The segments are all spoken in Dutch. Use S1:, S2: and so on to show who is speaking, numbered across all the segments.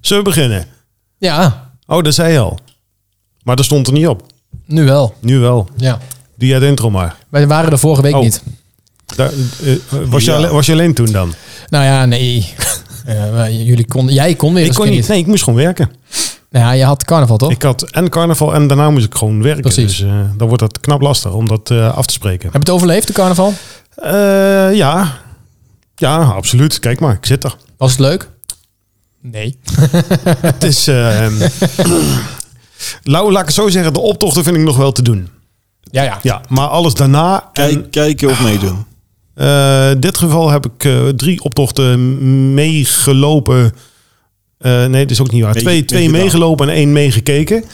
S1: Zullen we beginnen?
S2: Ja,
S1: Oh, dat zei je al. Maar dat stond er niet op.
S2: nu wel.
S1: Nu wel.
S2: Ja.
S1: Doe jij het intro maar.
S2: Wij waren er vorige week
S1: Oh.
S2: niet.
S1: Daar, eh, was, je
S3: Ja.
S1: alleen, was je alleen toen dan?
S2: Nou ja, nee. Eh, maar j- jullie kon, jij kon weer
S1: Ik
S2: eens
S1: kon
S2: een keer
S1: niet. Nee, ik moest gewoon werken.
S2: Nou ja, je had carnaval toch?
S1: Ik had en carnaval en daarna moest ik gewoon werken.
S2: Precies.
S1: Dus eh, dan wordt dat knap lastig om dat eh, af te spreken.
S2: Heb je het overleefd, de carnaval?
S1: Eh, ja. Ja, absoluut. Kijk maar, ik zit er.
S2: Was het leuk? Nee.
S1: Het is... eh, Lau, laat ik het zo zeggen, de optochten vind ik nog wel te doen.
S2: Ja, ja.
S1: Ja, maar alles daarna...
S3: Kijk,
S1: En,
S3: kijken of meedoen.
S1: eh, in dit geval heb ik eh, drie optochten meegelopen. Eh, nee, dat is ook niet waar.
S3: Mee-
S1: twee twee
S3: meegedaan.
S1: meegelopen en één meegekeken.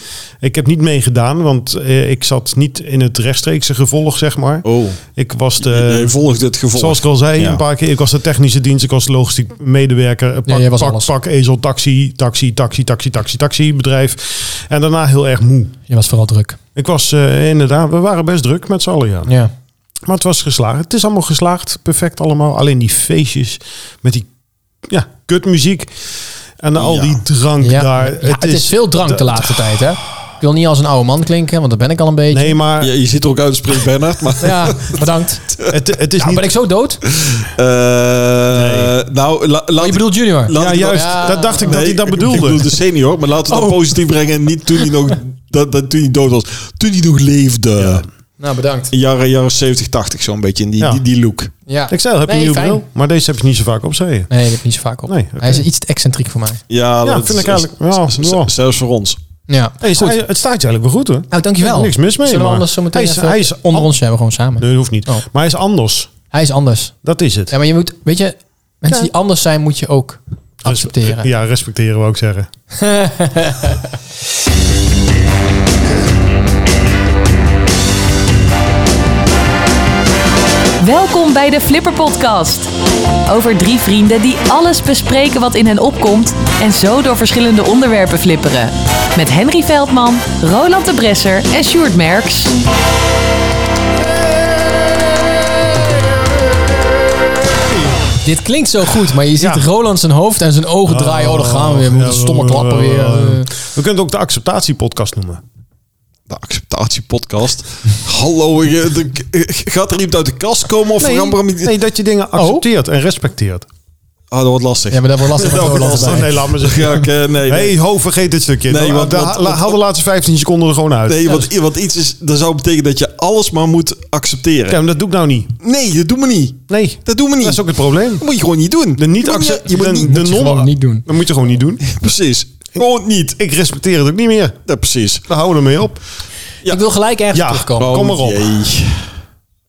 S1: Ik heb niet meegedaan, want eh, ik zat niet in het rechtstreekse gevolg, zeg maar.
S3: Oh,
S1: Ik was de...
S3: je volgt het gevolg.
S1: Eh, Zoals ik al zei
S3: Ja.
S1: een paar keer, ik was de technische dienst, ik was de logistiek medewerker, eh, pak,
S2: jij was
S1: pak,
S2: alles.
S1: pak, ezel, taxi, taxi, taxi, taxi, taxi, taxi, bedrijf. En daarna heel erg moe.
S2: Je was vooral druk.
S1: Ik was eh, inderdaad, we waren best druk met z'n allen, ja.
S2: Ja.
S1: Maar het was geslaagd. Het is allemaal geslaagd, perfect allemaal. Alleen die feestjes met die ja, kutmuziek en al
S3: Ja.
S1: die drank
S2: ja.
S1: daar.
S2: Ja, het is, veel drank de laatste tijd, hè? Ik wil niet als een oude man klinken, want dat ben ik al een beetje.
S1: Nee, maar
S3: Ja, je ziet er ook uit als Prins Bernhard, maar...
S2: Ja, bedankt.
S1: het, het is
S2: Ja,
S1: niet...
S2: ben ik zo dood?
S3: Eh, Nou, la, laat
S2: Oh, je
S3: ik-
S2: bedoelt junior?
S1: Ja,
S3: laat ik dat-
S1: juist.
S2: Ja.
S1: Dat dacht ik dat
S3: Nee,
S1: hij dat
S3: Ik bedoel dus-
S1: bedoelde.
S3: de senior, maar laten we dat
S2: Oh.
S3: positief brengen. En niet toen hij nog, dat, dat, toen hij dood was. Toen hij nog leefde.
S2: Nou, bedankt.
S3: In jaren, jaren 70, 80 zo'n beetje. In die,
S1: Ja.
S3: die, die look.
S2: Ja.
S1: Ik zei, al, heb je
S2: Nee,
S1: een nieuwe
S2: fijn.
S1: bril? Maar deze heb je niet zo vaak op, zei je.
S2: Nee, ik heb niet zo vaak op.
S1: Nee, oké.
S2: Hij is iets te excentriek voor mij.
S3: Ja,
S1: Ja, vind ik eigenlijk... Ja, ja.
S3: Zelfs voor ons.
S2: Ja.
S1: Hey, het staat- het staat je eigenlijk wel goed hoor.
S2: Nou,
S1: Er
S2: dankjewel.
S1: is niks mis mee,
S2: Zullen we
S1: maar-
S2: anders zo meteen
S1: Hij is-
S2: even
S1: hij is-
S2: onder ons hebben, gewoon samen.
S1: Nee, dat hoeft niet.
S2: Oh.
S1: Maar hij is anders.
S2: Hij is anders.
S1: Dat is het.
S2: Ja, maar je moet, weet je, mensen
S1: Ja. Dus, eh,
S2: die anders zijn moet je ook accepteren.
S1: Ja, respecteren wou ik zeggen.
S4: Welkom bij de Flipper Podcast. Over drie vrienden die alles bespreken wat in hen opkomt en zo door verschillende onderwerpen flipperen. Met Henry Veldman, Roland de Bresser en Sjoerd Merks.
S2: Dit klinkt zo goed, maar je ziet
S1: Ja.
S2: Roland zijn hoofd en zijn ogen draaien. Oh, daar gaan we weer. We
S1: Ja,
S2: moeten stomme klappen weer. Eh,
S1: We kunnen het ook de acceptatiepodcast noemen.
S3: De acceptatiepodcast. Hallo, je- de- eh, gaat er iemand uit de kast komen? Of gaan we hem niet-
S1: nee, dat je dingen accepteert en respecteert.
S3: Ah, Oh? dat wordt lastig.
S2: Ja, maar dat wordt lastig met
S1: Dat
S2: Roland
S1: was
S2: erbij.
S1: dan- nee, laat maar zeggen.
S3: Ja, oké, nee, nee.
S1: hey, ho, vergeet dit stukje.
S3: Nee,
S1: Dan-
S3: want-
S1: dan-
S3: want-
S1: la- haal de laatste 15 seconden er gewoon uit.
S3: Nee, want, want iets is, dat zou betekenen dat je alles maar moet accepteren.
S1: Ja, maar dat doe ik nou niet.
S3: Nee, dat doen we niet.
S1: Nee,
S3: Dat doen we niet.
S1: dat is ook het probleem.
S3: Dat moet je gewoon niet doen.
S1: De niet
S3: Je moet niet-
S1: accept-
S3: je moet
S1: de-
S3: niet-
S1: de
S2: je
S1: non-
S2: gewoon niet doen.
S1: Dat moet je gewoon niet doen.
S3: Precies. Gewoon niet.
S1: Ik respecteer het ook niet meer.
S3: Ja, precies.
S1: Daar houden we mee op.
S3: Ja.
S2: Ik wil gelijk ergens
S1: Ja,
S2: terugkomen.
S1: kom maar op.
S3: Oh, Jee.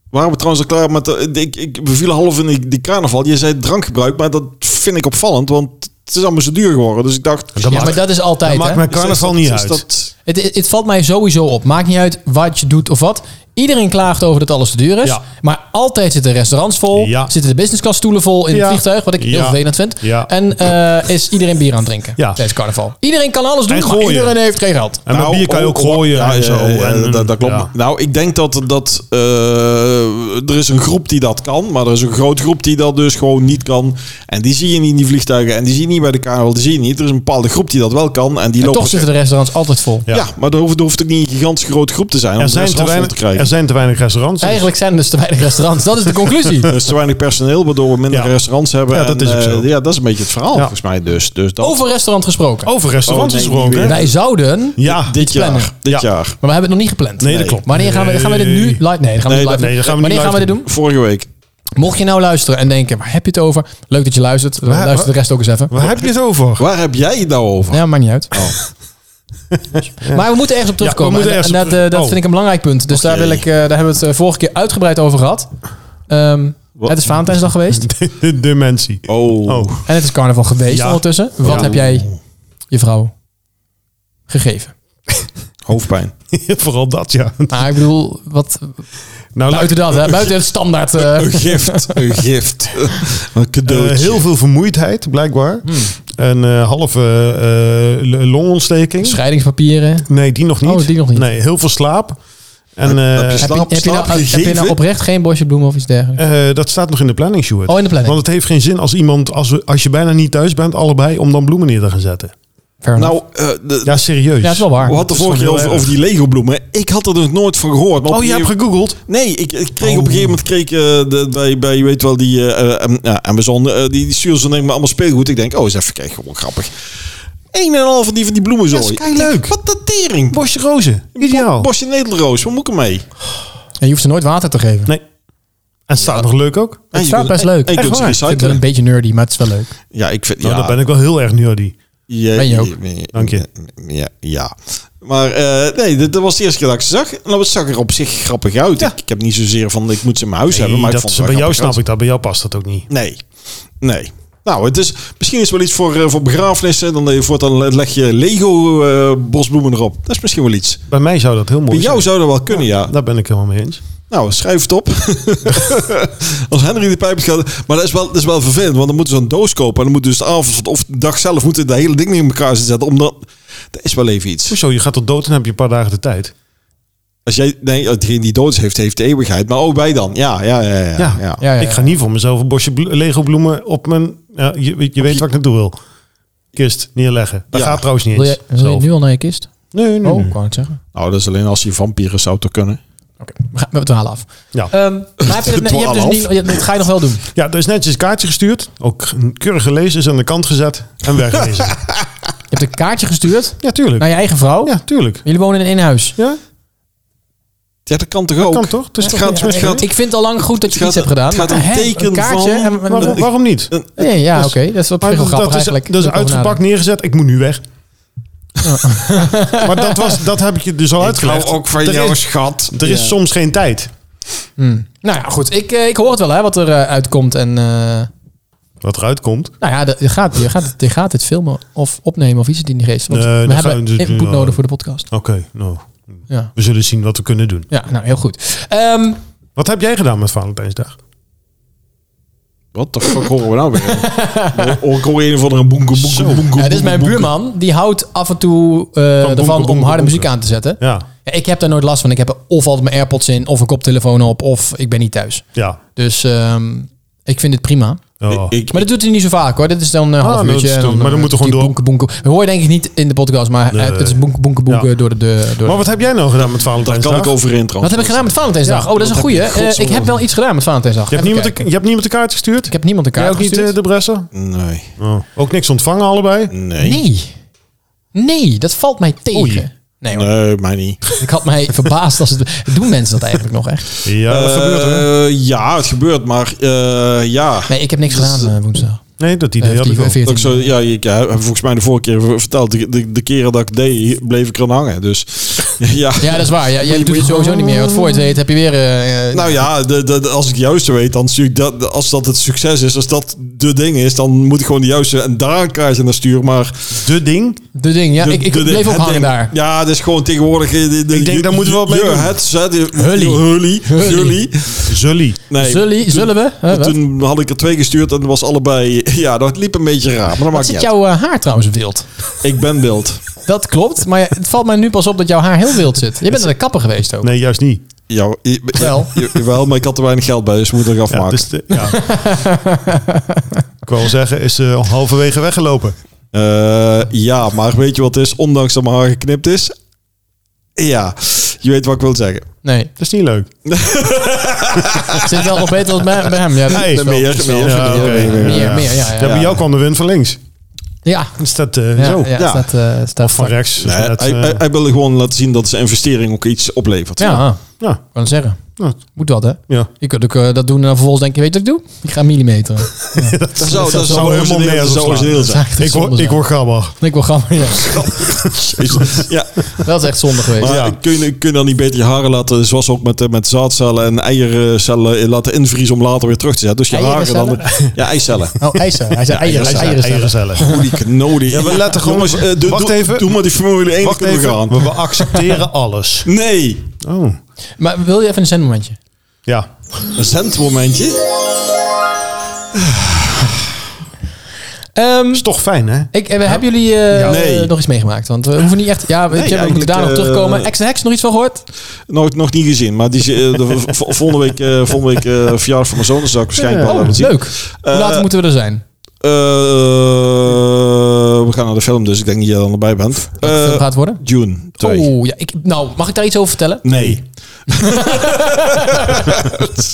S3: Waren we trouwens al klaar met... de- ik, ik, we vielen half in die, die carnaval. Je zei drankgebruik, maar dat vind ik opvallend. Want het is allemaal zo duur geworden. Dus ik dacht...
S1: Dat
S2: ja, maar dat is altijd,
S1: maakt
S2: hè?
S1: mijn carnaval
S3: is
S1: niet
S3: dat-
S1: uit.
S3: is dat-
S2: Het, het, het valt mij sowieso op. Maakt niet uit wat je doet of wat. Iedereen klaagt over dat alles te duur is.
S1: Ja.
S2: Maar altijd zitten de restaurants vol.
S1: Ja.
S2: Zitten de business class stoelen vol in
S1: Ja.
S2: het vliegtuig. Wat ik
S1: Ja.
S2: heel vervelend vind.
S1: Ja.
S2: En eh, is iedereen bier aan het drinken.
S1: Ja.
S2: Tijdens carnaval. Iedereen kan alles doen,
S1: En
S2: maar
S1: gooien.
S2: iedereen heeft geen geld.
S1: En met bier kan je ook
S3: oh,
S1: gooien
S3: ja,
S1: en zo.
S3: ja, ja,
S1: en,
S3: dat, dat klopt.
S1: ja.
S3: Nou, ik denk dat, dat eh, er is een groep die dat kan, maar er is een groot groep die dat dus gewoon niet kan. En die zie je niet in die vliegtuigen en die zie je niet bij de carnaval, die zie je niet. Er is een bepaalde groep die dat wel kan en die
S2: En
S3: lopen...
S2: toch zitten de restaurants altijd vol.
S3: ja. maar er hoeft, er hoeft ook niet een gigantisch grote groep te zijn om
S1: Er,
S3: de
S1: zijn te
S3: restaurants vol
S1: weinig,
S3: te krijgen.
S1: er zijn te weinig restaurants. dus-
S2: Eigenlijk zijn er dus te weinig restaurants. Dat is de conclusie.
S3: Er is te weinig personeel, waardoor we minder
S1: Ja.
S3: restaurants hebben.
S1: Ja, dat
S3: en,
S1: is ook
S3: eh,
S1: zo.
S3: ja, dat is een beetje het verhaal
S1: Ja.
S3: volgens mij dus. dus dat,
S2: Over restaurant gesproken.
S1: Over restaurants
S3: Oh, nee,
S1: gesproken.
S3: niet
S1: hè?
S3: weer.
S2: Wij zouden...
S1: Ja,
S3: dit jaar.
S2: plannen.
S3: Dit
S1: Ja.
S3: jaar.
S2: Maar we hebben het nog niet gepland.
S1: Nee, dat klopt.
S2: Wanneer gaan we, gaan we dit nu
S1: Nee.
S2: live? Nee, dat gaan we
S3: Nee,
S2: niet live
S3: dat-
S2: doen.
S1: nee, dat gaan we niet
S2: Wanneer gaan we dit
S1: live
S2: doen?
S3: Vorige week.
S2: Mocht je nou luisteren en denken, waar heb je het over? Leuk dat je luistert.
S1: Waar-
S2: Luister de rest ook eens even.
S1: Waar heb je het over?
S3: Waar heb jij het nou over?
S2: Ja, maakt niet uit. Oh. maar we moeten ergens op
S1: Ja, we
S2: terugkomen.
S1: moeten
S2: en
S1: ergens
S2: en
S1: op
S2: dat, eh,
S1: terug-
S2: dat
S1: oh.
S2: vind ik een belangrijk punt. Dus daar, wil ik, eh, daar hebben we het eh, vorige keer uitgebreid over gehad. Ehm,
S3: Wat?
S2: het is Valentijnsdag geweest.
S1: De Dementie.
S3: Oh.
S1: Oh,
S2: En het is carnaval geweest
S1: Ja.
S2: ondertussen. Wat
S1: Ja.
S2: heb jij je vrouw gegeven?
S3: hoofdpijn.
S1: vooral dat ja.
S2: Nou, ik bedoel, wat,
S1: Nou, laat-
S2: buiten dat, hè, buiten het standaard. eh,
S3: Een gift. Een gift. Een
S1: eh,
S3: cadeautje.
S1: heel veel vermoeidheid, blijkbaar. Een eh, halve eh, eh, l- longontsteking.
S2: scheidingspapieren.
S1: Nee, die nog niet.
S2: Oh, die nog niet.
S1: Nee, heel veel slaap. En
S3: heb
S1: eh,
S3: je slaap?
S2: Heb je, heb, je nou, heb je nou
S3: gegeven?
S2: oprecht geen bosje bloemen of iets dergelijks?
S1: eh, dat staat nog in de planning, Stuart.
S2: Oh, in de planning.
S1: Want het heeft geen zin als iemand, als, we, als je bijna niet thuis bent, allebei, om dan bloemen neer te gaan zetten.
S2: Fair enough.
S3: Nou, eh, de,
S1: Ja, serieus.
S2: ja, het is wel waar.
S3: we hadden de
S1: Dat
S3: vorige
S1: is
S3: keer
S1: wel
S3: over,
S1: heel
S3: over die Lego bloemen. Ik had er nog nooit van gehoord. maar op
S1: Oh, je
S3: een
S1: hebt Oh.
S3: gegeven-
S1: gegoogeld?
S3: Nee, ik, ik kreeg op een gegeven moment kreeg, ik, eh, de, bij, bij, je weet wel, die eh, eh, nou, Amazon, eh, die, die sturen ze denk ik maar allemaal speelgoed. Ik denk, oh, is even kijken, gewoon grappig. Een en al van die, van die bloemen zo.
S1: Dat is keileuk.
S3: Wat de tering.
S1: Bosje rozen. Ideaal.
S3: Bosje netelroos, wat moet ik ermee?
S2: En je hoeft ze nooit water te geven.
S1: nee. En het staat nog leuk ook. Nou,
S3: En je
S2: staat
S3: kunt-
S2: best leuk.
S3: En je
S2: Echt
S3: kunt ze
S1: waar.
S2: Ik vind het
S3: recyclen.
S2: een beetje nerdy, maar het is wel leuk.
S3: Ja, ik vind...
S1: Nou,
S3: ja,
S1: daar ben ik wel heel erg nerdy.
S3: Ja,
S2: Ben je ook.
S3: ja,
S1: Dank je.
S3: Ja, ja. Maar eh, nee, dat, dat was de eerste keer dat ik ze zag. En dat zag er op zich grappig uit. Ik, ik heb niet zozeer van, ik moet ze in mijn huis hebben.
S1: Nee,
S3: Maar ik
S1: dat
S3: vond
S1: is-
S3: ze
S1: bij jou snap ik dat, bij jou past dat ook niet.
S3: Nee, nee. Nou, het is, misschien is het wel iets voor, eh, voor begrafenissen. Dan, eh, voortaan leg je Lego eh, bosbloemen erop. Dat is misschien wel iets.
S1: Bij mij zou dat heel mooi
S3: Bij
S1: zijn.
S3: jou zou dat wel kunnen, ja.
S1: Daar ben ik helemaal mee eens.
S3: Nou, schrijf het op. Als Henry de pijp gaat. Maar dat is, wel, dat is wel vervelend, want dan moeten ze een doos kopen. En dan moet dus de avond of de dag zelf moeten dat hele ding in elkaar zetten. Omdat, dat is wel even iets.
S1: Hoezo, je gaat tot dood en dan heb je een paar dagen de tijd.
S3: Als jij, nee, degene die dood is, heeft, heeft de eeuwigheid. Maar ook wij dan. Ja, ja, ja. ja, ja.
S1: Ja.
S2: Ja, ja,
S1: Ik ga
S2: ja.
S1: niet voor mezelf een bosje blo- Lego bloemen op mijn... ja, je je weet wat ik naartoe wil. Kist neerleggen. Dat
S3: Ja.
S1: gaat trouwens niet
S2: Wil
S1: eens. Hmm.
S2: je, wil je
S1: zelf.
S2: nu al naar je kist?
S1: Nee, nee,
S2: Oh,
S1: nee.
S2: ik wou het zeggen.
S3: Nou, dat is alleen als je vampieren zou te kunnen.
S2: Oké, we gaan- we dwalen af.
S1: Ja.
S2: Ehm, maar heb je, dat, je hebt dus
S3: Dwalen
S2: niet,
S3: af.
S2: je, dat ga je nog wel doen.
S1: ja, er is netjes een kaartje gestuurd. Ook keurig gelezen, is aan de kant gezet en weggewezen.
S2: Je hebt een kaartje gestuurd
S1: ja, tuurlijk.
S2: naar je eigen vrouw.
S1: Ja, tuurlijk.
S2: Jullie wonen in één huis.
S1: Ja,
S3: Ja, dat kan toch ook?
S1: kan toch? Het is
S3: Het
S1: toch
S3: gaat-
S1: niks
S3: het
S1: mis
S3: gaat-
S1: mee?
S2: Ik vind het al lang goed dat je
S3: Het
S2: iets hebt
S3: gaat-
S2: gedaan.
S3: het gaat om
S2: Maar, hè,
S3: teken
S2: kaartje
S3: van-
S2: en- en-
S1: Waarom, waarom niet?
S2: nee, ja, oké.
S1: dat is-
S2: Dat is wel
S1: Maar
S2: heel grappig
S1: dat is,
S2: eigenlijk.
S1: dat is
S2: Moet ik over
S1: uitgepakt neergezet. Ik moet nu weg. maar dat, was, dat heb ik je dus al
S3: Nou,
S1: uitgelegd. er is,
S3: schat.
S1: er is soms geen tijd.
S2: nadenken. Hmm. Nou ja, goed. Ik, eh, ik hoor het wel, hè, wat er eh, uitkomt. En eh,
S1: Wat eruit komt.
S2: nou ja, de- je gaat, je, gaat, je gaat dit filmen of opnemen of iets in die geest. Want
S1: Nee,
S2: we
S1: dat gaan
S2: hebben
S1: we dus
S2: input
S1: doen.
S2: nodig voor de podcast.
S1: Oké, nou.
S2: Ja,
S1: We zullen zien wat we kunnen doen.
S2: ja nou heel goed. Ehm,
S1: Wat heb jij gedaan met Valentijnsdag?
S3: Wat de fuck horen we nou weer? Hoor ik hoor een van een boenke, boenke, boenke,
S2: ja, dit is
S3: boenke,
S2: mijn
S3: boenke.
S2: buurman. Die houdt af en toe eh,
S1: bonken,
S2: ervan om
S1: bonken,
S2: harde muziek
S1: bonken.
S2: aan te zetten.
S1: Ja,
S2: Ja, ik heb daar nooit last van. Ik heb er of altijd mijn AirPods in, of een koptelefoon op, of ik ben niet thuis.
S1: ja.
S2: Dus ehm, ik vind het prima.
S1: Oh.
S3: Ik,
S2: Maar dat doet hij niet zo vaak hoor. Dit is dan een half
S1: Ah, dat
S2: uurtje.
S1: is
S2: en
S1: doen. Maar dan
S2: eh,
S1: moeten we gewoon
S2: die Bonken, bonken. Dat hoor je denk ik niet in de podcast, maar eh,
S1: Nee.
S2: het is bonken, bonken, bonken
S1: Ja.
S2: door de... de-
S1: maar
S2: Door de-
S1: wat heb jij nou gedaan met
S3: daar eh, kan
S1: Valentijnsdag?
S3: ik over in trouwens.
S2: Wat heb ik gedaan met Valentijnsdag?
S1: Ja,
S2: oh, dat is een
S3: wat
S2: goede.
S3: heb je in godsnaam
S2: ik heb wel
S3: gedaan?
S2: iets gedaan met Valentijnsdag.
S1: Je hebt,
S2: Even
S1: niemand een,
S2: kijken.
S1: je hebt niemand een kaart gestuurd?
S2: Ik heb niemand een
S1: jij
S2: kaart
S1: ook niet
S2: gestuurd.
S1: eh, de Bressen?
S3: Nee,
S1: Oh. Ook niks ontvangen allebei?
S3: nee. Nee,
S2: Nee. Nee, dat valt mij tegen.
S1: eh, Oei.
S2: Nee hoor,
S3: mij niet.
S2: ik had mij verbaasd als het... Doen mensen dat eigenlijk nog echt?
S1: Ja, dat
S3: Eh,
S1: gebeurt er.
S3: Ja, het gebeurt, maar eh, ja.
S2: Nee, ik heb niks gedaan eh, woensdag.
S1: Nee, dat
S2: Eh,
S1: idee had
S2: die
S1: ik ook.
S2: 14.
S3: Ook zo, ja, ik ja, heb volgens mij de vorige keer ver- verteld. De, de, de keren dat ik deed, bleef ik eraan hangen. Dus ja.
S2: Ja, dat is waar. Ja, jij doet het sowieso niet meer. Want voor je het weet heb je weer... eh, eh,
S3: Nou ja, de, de, de- als ik de juiste weet, dan stuur ik dat. Als dat het succes is, als dat de ding is, dan moet ik gewoon de juiste. En daar krijg je naar stuur. Maar
S1: De ding.
S2: de ding. Ja,
S3: de-
S2: Ah, ik, ik
S3: de ding,
S2: bleef
S3: het
S2: ophangen
S3: ding.
S2: daar.
S3: Ja, dat is gewoon tegenwoordig. eh, De, de,
S1: Ik denk, daar moeten we wat mee
S3: je
S1: doen.
S3: Het, zet, je-
S2: Hully.
S3: je Hully.
S2: Hully.
S3: Jullie.
S1: Zully.
S3: Nee,
S2: Zullen, zullen we? Huh, wat?
S3: toen had ik er twee gestuurd en dat was allebei. Ja, dat liep een beetje raar. Maar dat
S2: Wat
S3: maakt
S2: zit
S3: niet uit.
S2: jouw eh, haar trouwens wild?
S3: Ik ben wild.
S2: Dat klopt, maar het valt mij nu pas op dat jouw haar heel wild zit. Je bent naar de kapper geweest ook.
S1: Nee, juist niet.
S3: Jou, je-
S2: Wel.
S3: je- Jawel, maar ik had er weinig geld bij, dus moet ik afmaken.
S1: Ja, dus de, ja. ik wil zeggen, is eh, halverwege weggelopen.
S3: Eh, ja, maar weet je wat het is? Ondanks dat mijn haar geknipt is. Ja, je weet wat ik wil zeggen.
S2: Nee,
S1: Dat is niet leuk.
S2: het zit wel nog beter dan bij, bij hem. Ja, dat
S1: Nee,
S2: is wel-
S3: meer,
S2: dat is wel-
S3: meer.
S2: Ja,
S1: Ja, oké.
S2: Meer, meer, ja, ja.
S1: Ja, bij jou kwam de wind van links.
S2: ja,
S1: Is dat eh,
S2: ja,
S1: zo?
S2: ja,
S3: ja.
S2: staat, eh, staat
S1: Van rechts. is
S3: Nee,
S1: net,
S3: hij,
S1: eh,
S3: hij, hij wilde gewoon laten zien dat zijn investering ook iets oplevert.
S2: Ja, ah,
S1: ja,
S2: kan zeggen.
S1: Ja.
S2: Moet dat, hè?
S1: ja.
S2: Je kunt ook eh, dat doen en dan vervolgens denk je, weet je wat ik doe? Ik ga millimeteren.
S3: dat zou, dat
S1: zou
S3: zou
S1: helemaal
S3: origineel-
S1: nergens
S3: dat zou
S1: op slaan.
S3: origineel
S2: Dat is
S3: zijn.
S2: eigenlijk
S1: Ik hoor,
S2: zonde
S1: ik
S2: zijn.
S1: hoor grabbel.
S2: Ik wil gaan, ja.
S3: Ja,
S2: Dat is echt zonde geweest.
S3: maar
S1: Ja.
S3: Kun, je, kun je dan niet beter je haren laten, zoals ook met, eh, met zaadcellen en eiercellen, eh, laten invriezen om later weer terug te zetten? Dus je haren dan... Ja, eicellen.
S2: Oh, ijzer. Hij zei eieren.
S1: Ja,
S2: Eieren, eieren,
S1: eieren zelf.
S3: Holy cannoli. Ja,
S1: we laten gewoon-
S3: Jongens, eh, doe-
S1: Wacht
S3: doe-
S1: even.
S3: Doe maar die Formule 1
S1: Wacht
S3: kunnen we
S1: even,
S3: gaan.
S1: we accepteren alles.
S3: Nee.
S1: Oh,
S2: Maar wil je even een zendmomentje?
S1: ja.
S3: Een zendmomentje.
S2: Ehm,
S1: Is toch fijn, hè?
S2: ik, eh, hebben jullie eh,
S3: Ja. Nee.
S2: eh, nog iets meegemaakt? Want we hoeven niet echt... Ja, we
S3: Nee,
S2: hebben
S3: eigenlijk,
S2: daar nog
S3: eh,
S2: terugkomen. Ex Hex, nog iets van gehoord?
S3: Nog, nog niet gezien, maar die, is, eh, de, v- v- volgende week, eh volgende week eh, verjaardag van mijn zoon, dus dat zal ik waarschijnlijk wel
S2: Oh,
S3: laten zien.
S2: leuk. Hoe
S3: Eh,
S2: laat moeten we er zijn?
S3: eh, we gaan naar de film, dus ik denk dat jij dan erbij bent.
S2: Wat de film
S3: Eh,
S2: gaat worden?
S3: June 2.
S2: Oeh, ja, ik, nou, mag ik daar iets over vertellen?
S3: Nee.